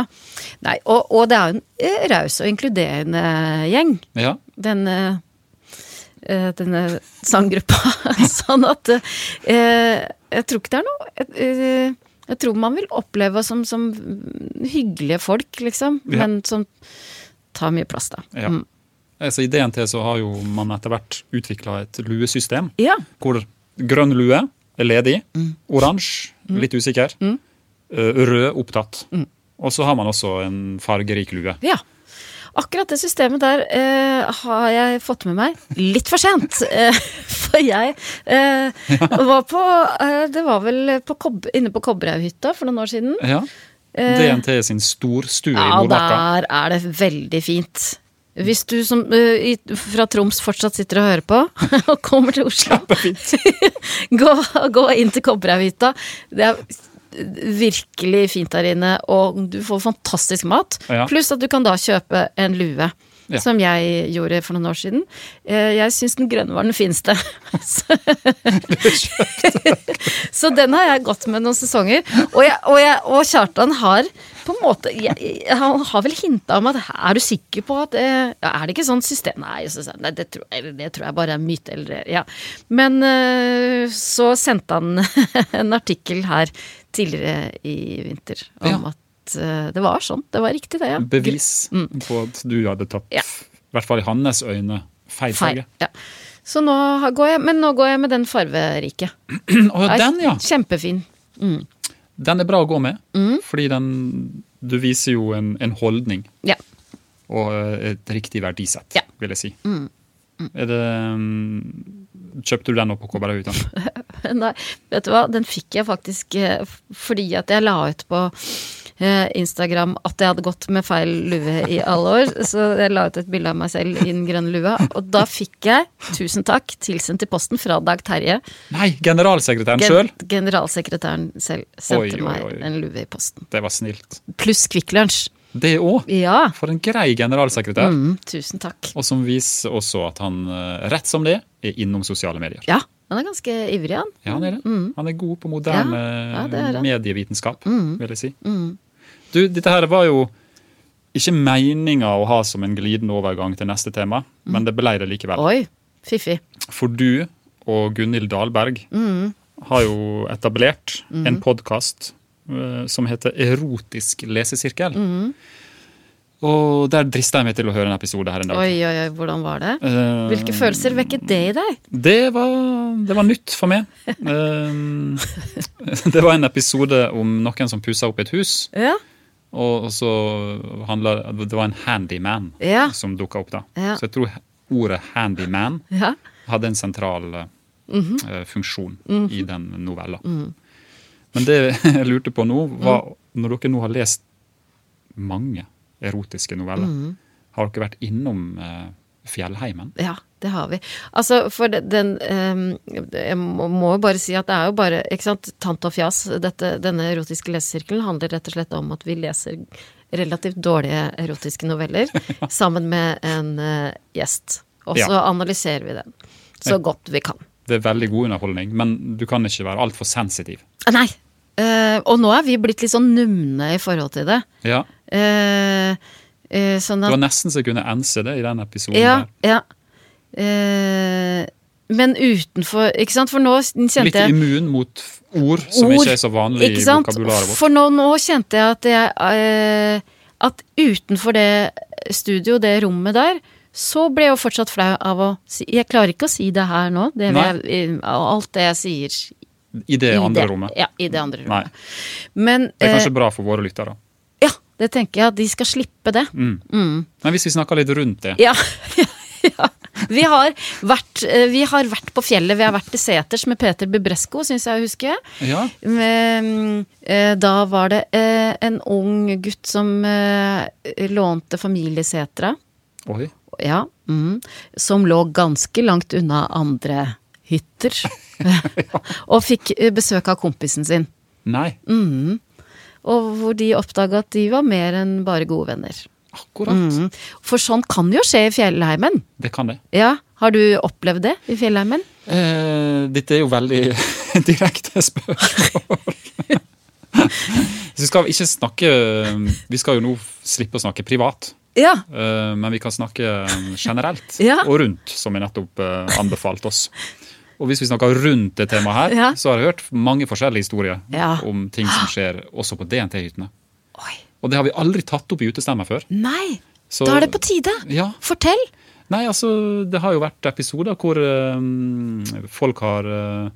Nei, og, og det er jo en eh, raus og inkluderende gjeng,
Ja.
denne, eh, denne sanggruppa. [laughs] sånn at eh, jeg tror ikke det er noe eh, Jeg tror man vil oppleve oss som, som hyggelige folk, liksom.
Ja.
Men som tar mye plass, da.
ja.
Mm.
Altså, I DNT så har jo man etter hvert utvikla et luesystem
ja.
hvor grønn lue er ledig,
Mm.
oransje litt usikker, eh, rød opptatt.
Mm.
Og så har man også en fargerik lue.
Ja. Akkurat det systemet der eh, har jeg fått med meg litt for sent. [laughs] Eh, for jeg
[laughs]
eh, var på eh, Det var vel på Kob inne på Kobberhaughytta for noen år siden.
Ja. DNT er sin storstue i
Eh. Ja, [laughs]
Nordmarka.
der er det veldig fint. Hvis du som eh, i, fra Troms fortsatt sitter og hører på, [laughs] og kommer til Oslo, gå, [laughs] gå inn til Kobberhaughytta. Det er virkelig fint der inne, og du får fantastisk mat.
Ja.
Pluss at du kan da kjøpe en lue.
Ja.
Som jeg gjorde for noen år siden. Eh, Jeg syns den grønne var den fineste.
[laughs]
Så- så den har jeg gått med noen sesonger. Og, jeg, og, jeg, og Kjartan har på en måte jeg, jeg- Han har vel hinta om at er du sikker på at eh, ja, Er det ikke sånn system Nei, så, sa jeg, nei det, tror, eller, det tror jeg bare er myte. Eller, ja. Men eh, så sendte han [laughs] en artikkel her tidligere i vinter om
Ja.
at eh, det var sånn. Det var riktig, det. ja.
Bevis på at du hadde tatt,
mm. Ja.
i hvert fall i hans øyne, feil
Feil.
farge. [clears throat]
Ja. Så nå har- går jeg, men nå går jeg med den farverike.
Å, ja, den, ja!
Kjempefin.
Den er bra å gå med,
Mm.
fordi den Du viser jo en, en holdning
Ja.
og eh, et riktig verdisett,
Ja.
vil jeg si. Er det mm, Kjøpte du den opp på Kobberhaughytta?
Nei, vet du hva, den fikk jeg faktisk eh, f- fordi at jeg la ut på eh, Instagram at jeg hadde gått med feil lue i alle år. Så jeg la ut et bilde av meg selv i den grønne lua, og da fikk jeg, tusen takk, tilsendt i posten fra Dag Terje.
Nei, generalsekretæren
Gen
sjøl!
generalsekretæren selv sendte
Oi, oi, oi.
meg en lue i posten.
Det var snilt.
Pluss Kvikk Lunsj.
Det òg!
Ja.
For en grei generalsekretær.
Mm, tusen takk.
Og som viser også at han eh, rett som det er innom sosiale medier.
Ja, han er ganske ivrig, han.
Mm. Ja, han er det. Mm. Han er god på moderne
Ja, ja, det er han.
medievitenskap, vil jeg si. Du, dette her var jo ikke meninga å ha som en glidende overgang til neste tema, men det ble det likevel.
Oi, fiffig.
For du og Gunhild Dahlberg
Mm.
har jo etablert en podkast som heter Erotisk lesesirkel.
Mm.
Og der drista jeg meg til å høre en episode her en dag.
Oi, oi, oi, hvordan var det?
Eh,
Hvilke følelser vekket det i deg?
det var, det var nytt for meg. Eh, [laughs] det var en episode om noen som pussa opp et hus.
Ja,
Og så handla Det var en handyman
Ja.
som dukka opp, da.
Ja.
Så jeg tror ordet 'handyman'
ja.
hadde en sentral eh,
Mhm.
eh, funksjon i den novella. Men det [laughs] jeg lurte på nå, var når dere nå har lest mange erotiske noveller,
Mhm.
har dere vært innom eh, fjellheimen?
Ja, det har vi. Altså, for de- den ehm, Jeg må må jo bare si at det er jo bare Ikke sant, tant og fjas. Dette, denne erotiske lesesirkelen handler rett og slett om at vi leser relativt dårlige erotiske
[laughs]
noveller sammen med en eh, gjest. Og så
Ja.
analyserer vi den så godt vi kan.
Det er veldig god underholdning, men du kan ikke være altfor sensitiv.
Ah, Nei! Eh, og nå er vi blitt litt sånn numne i forhold til det.
Ja,
Eh, eh, sånn
Det
at
var nesten så jeg kunne ense det i den episoden.
Ja,
her.
ja. Eh, men utenfor Ikke sant, for nå kjente
Litt
jeg
immun mot f- ord som ikke er så vanlig i
ikke sant?
vokabularet vårt.
For nå, nå kjente jeg at jeg eh, At utenfor det studio, det rommet der, så ble jeg jo fortsatt flau av å si Jeg klarer ikke å si det her nå. Det vil
Nei.
jeg, eh, alt det jeg sier
I det
i
andre
det-
rommet.
Ja, i det andre
Nei.
rommet. Men
Det er
eh,
kanskje bra for våre lyttere.
ja, det tenker jeg at de skal slippe det.
Mm.
Mm.
Men hvis vi snakker litt rundt det
Ja. [laughs] ja. Vi har, vært, eh, vi har vært på fjellet. Vi har vært til seters med Peter Bubresko, syns jeg å huske.
Ja,
Men, eh, Da var det eh, en ung gutt som eh, lånte familiesetra.
Oi.
Ja. Mm, som lå ganske langt unna andre hytter. [laughs] og fikk eh, besøk av kompisen sin.
Nei,
Og hvor de oppdaga at de var mer enn bare gode venner.
akkurat.
Mm. For sånn kan jo skje i fjellheimen.
Det kan det.
Ja, Har du opplevd det i fjellheimen?
Eh, dette er jo veldig [laughs] direkte
[laughs]
spørsmål. Så vi skal ikke snakke Vi skal jo nå slippe å snakke privat.
Ja.
Eh, Men vi kan snakke eh, generelt
[laughs] Ja.
og rundt, som jeg nettopp eh, anbefalt oss. Og hvis vi snakker rundt det temaet her,
Ja.
så har jeg hørt mange forskjellige historier
Ja.
om ting som skjer også på DNT-hyttene.
Oi.
Og det har vi aldri tatt opp i utestemmer før.
Nei!
Så-
Da er det på tide!
Ja,
Fortell!
Nei, altså, det har jo vært episoder hvor eh, folk har eh,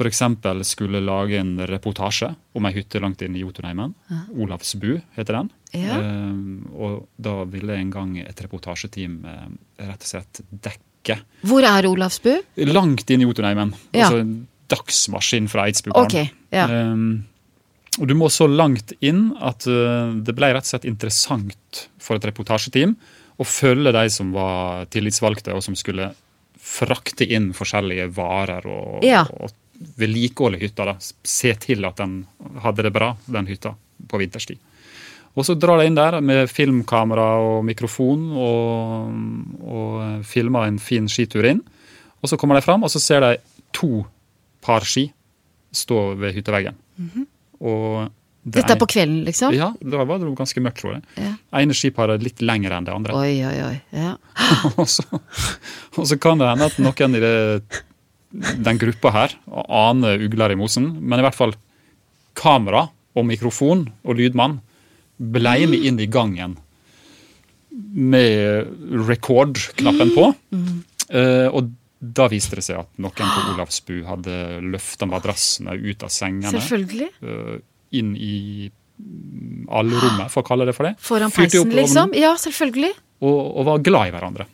for eksempel skulle lage en reportasje om ei hytte langt inn i Jotunheimen. Olavsbu heter den.
Ja.
Eh, og da ville en gang et reportasjeteam eh, rett og slett dekke
Hvor er Olavsbu?
langt inn i Jotunheimen.
Ja.
Altså en dagsmaskin fra Eidsbugarden.
Ok. Ja.
Eh, og du må så langt inn at eh, det ble rett og slett interessant for et reportasjeteam å følge de som var tillitsvalgte, og som skulle frakte inn forskjellige varer og,
Ja.
og vedlikeholde hytta. Da. Se til at den hadde det bra, den hytta, på vinterstid. Og så drar de inn der med filmkamera og mikrofon og, og filmer en fin skitur inn. Og så kommer de fram, og så ser de to par ski stå ved hytteveggen. Og det
Mhm. Dette er på
ene-
kvelden, liksom?
Ja, da var det jo ganske mørkt, tror jeg.
Ja.
Ene skiparet er litt lengre enn det andre.
Oi, oi, oi. Ja.
[laughs] og, så, og så kan det hende at noen i det, den gruppa her aner ugler i mosen, men i hvert fall kamera og mikrofon og lydmann blei med inn i gangen med record-knappen på. Eh, og da viste det seg at noen på Olavsbu hadde løfta madrassene ut av sengene
Selvfølgelig.
eh, inn i mm, allrommet, for å kalle det for det.
Foran
Fyrte
peisen,
opp ovnen
liksom? Ja, selvfølgelig.
og, og var glad
[laughs]
i hverandre.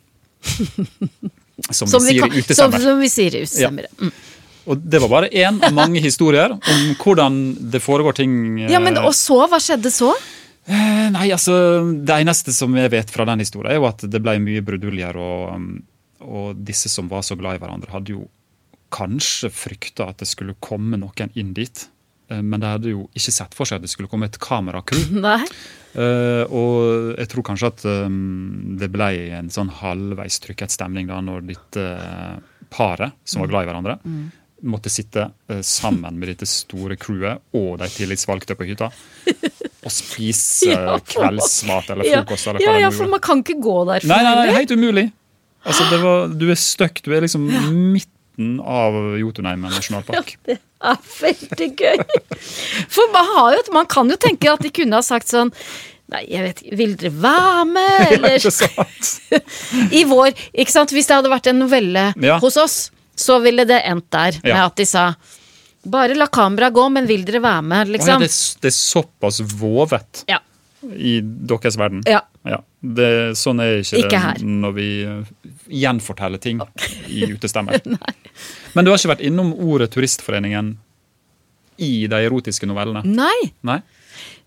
Som,
Som vi,
vi sier
kan,
i
som,
utestemmer.
som vi sier i utestemmere. Mm.
Og det var bare én av mange historier om hvordan det foregår ting eh,
Ja, men og så? Hva skjedde så?
eh, Nei, altså, Det eneste som jeg vet fra den historien, er jo at det ble mye bruduljer, og, um, og disse som var så glad i hverandre, hadde jo kanskje frykta at det skulle komme noen inn dit. Eh, Men de hadde jo ikke sett for seg at det skulle komme et kameracrew.
Nei.
Eh, og jeg tror kanskje at eh, det ble en sånn halvveis trykket stemning da når dette eh, paret, som
Mm.
var glad i hverandre, måtte sitte eh, sammen med dette store crewet og de tillitsvalgte på hytta. å spise
[laughs]
eh,
Ja, for-
kveldsmat eller
Ja,
frokost. Eller hva
ja,
det
ja,
nå
for
var.
man kan ikke gå derfra.
Nei, nei, nei,
heller.
helt umulig. Altså, det var, du er stuck. Du er liksom midten av Jotunheimen [laughs] nasjonalpark.
Det er veldig gøy. For man, har jo, man kan jo tenke at de kunne ha sagt sånn Nei, jeg vet ikke, vil dere være med, eller
Ikke sant?
I vår, ikke sant? Hvis det hadde vært en novelle
Ja.
hos oss, så ville det endt der med
Ja.
at de sa Bare la kameraet gå, men vil dere være med,
Å, ja,
liksom?
det, er s- det er såpass vovet
Ja.
i deres verden.
ja.
Ja, det, sånn er ikke,
Ikke
det
her.
når vi eh, gjenforteller ting i
[laughs]
utestemmer. Men du har ikke vært innom ordet Turistforeningen i de erotiske novellene?
Nei.
Nei?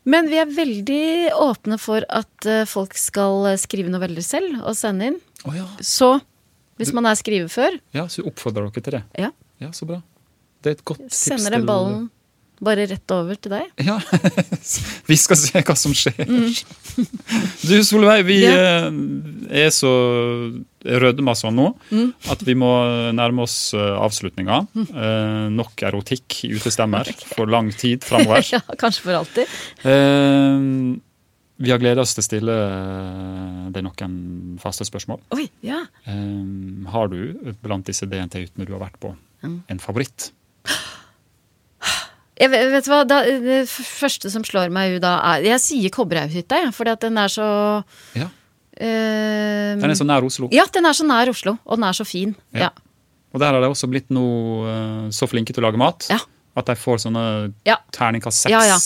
Men vi er veldig åpne for at eh, folk skal eh, skrive noveller selv og sende inn.
Å ja.
Så hvis man er skrivefør,
ja. Så oppfordrer dere til det?
ja,
Ja, så bra. Det er et godt tips.
sender den
til-
ballen bare rett over til deg.
Ja. [laughs] vi skal se hva som skjer.
Mm.
Du Solveig, vi eh, er så rødma sånn nå
Mm.
at vi må nærme oss eh, avslutninga. Eh, nok erotikk i utestemmer for lang tid framover.
[laughs] Ja, kanskje for alltid.
Eh, vi har gleda oss til å stille eh, deg noen faste spørsmål.
Oi, ja.
Eh, har du blant disse DNT-hyttene du har vært på,
Mm.
en favoritt?
Jeg vet, vet du hva, da, eh, Det f- første som slår meg ut da, er Jeg sier Kobberhaughytta, jeg, fordi at den er så
Ja.
eh,
Den er så nær Oslo.
Ja, den er så nær Oslo, og den er så fin.
Ja.
Ja.
Og der har de også blitt nå eh, så flinke til å lage mat
Ja.
at de får sånne
Ja.
terningkast seks
Ja, ja.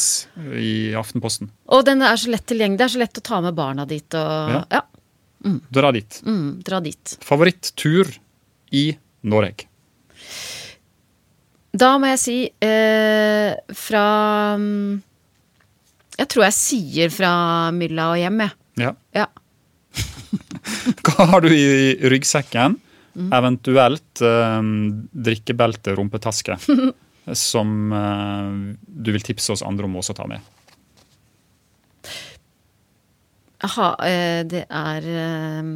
i Aftenposten.
Og den er så lett tilgjengelig. Det er så lett å ta med barna dit og
Ja.
Ja.
Dra dit.
mm, dra dit.
Favorittur i Norge.
Da må jeg si eh, fra mm, Jeg tror jeg sier fra Mylla og hjem, jeg.
Ja.
Ja.
[laughs] Hva har du i ryggsekken?
Mm.
Eventuelt eh, drikkebelte,
[laughs]
rumpetaske. som eh, du vil tipse oss andre om også å ta med.
Ha, eh, det er eh,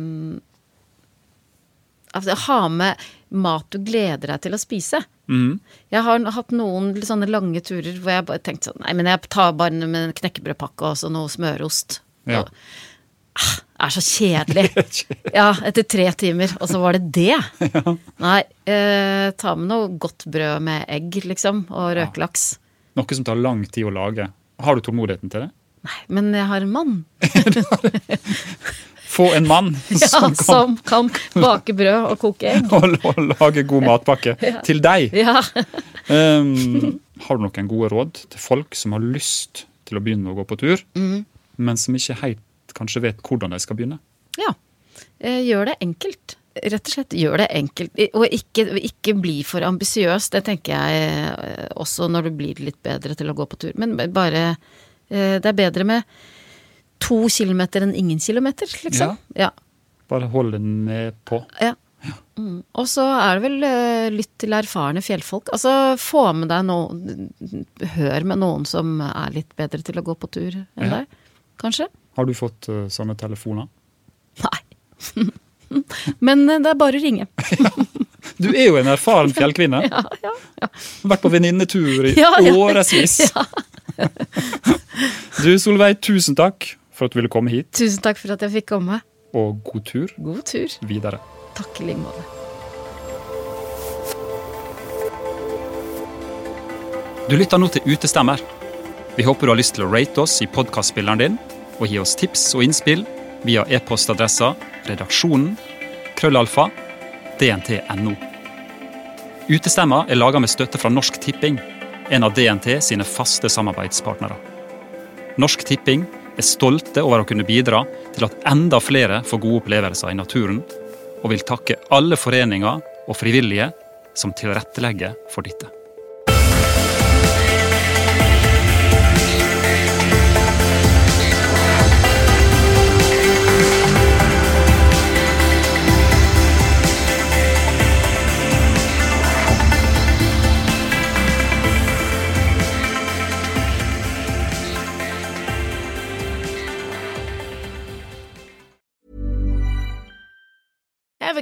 altså, Ha med mat du gleder deg til å spise.
Mhm.
Jeg har hatt noen litt sånne lange turer hvor jeg bare tenkte sånn Nei, men jeg tar bare med en knekkebrødpakke og så noe smørost.
Ja.
Og, ah, er så kjedelig. Ja, etter tre timer, og så var det det. Nei, eh, ta med noe godt brød med egg, liksom, og røkelaks.
[laughs] Noe som tar lang tid å lage. Har du tålmodigheten til det?
Nei, men jeg har en mann
[laughs] Få en mann
[laughs] ja,
som kan
som kan bake brød og koke
[laughs]
egg.
og, og lage god matpakke til deg.
[laughs] Ja.
Um, har du noen gode råd til folk som har lyst til å begynne å gå på tur,
Mm.
men som ikke helt kanskje vet hvordan de skal begynne?
ja. Eh, gjør det enkelt. Rett og slett gjør det enkelt. I- Og ikke, ikke bli for ambisiøs. Det tenker jeg eh, også når du blir litt bedre til å gå på tur. Men bare eh, Det er bedre med to kilometer enn ingen kilometer, liksom. ja.
Bare hold det ned på.
Ja. Mm. Og så er det vel eh, lytt til erfarne fjellfolk. Altså få med deg noen Hør med noen som er litt bedre til å gå på tur enn
Ja.
deg, kanskje.
Har du fått eh, sånne telefoner? [laughs]
Nei. [laughs] Men eh, det er bare å ringe.
Du er jo en erfaren fjellkvinne.
[laughs] Ja, ja.
Vært på venninnetur i
[laughs] Ja, [laughs] ja.
årevis. [laughs] Du Solveig, tusen takk for at du ville komme hit,
Tusen takk for at jeg fikk komme.
og god tur
God tur.
videre.
Takk i like måte.
Du lytter nå til Utestemmer. Vi håper du har lyst til å rate oss i podkastspilleren din, og gi oss tips og innspill via e-postadressa redaksjonen krøllalfa dnt.no. Utestemmer er laga med støtte fra Norsk Tipping, en av DNT sine faste samarbeidspartnere. Norsk Tipping er stolte over å kunne bidra til at enda flere får gode opplevelser i naturen, og vil takke alle foreninger og frivillige som tilrettelegger for dette.
Ever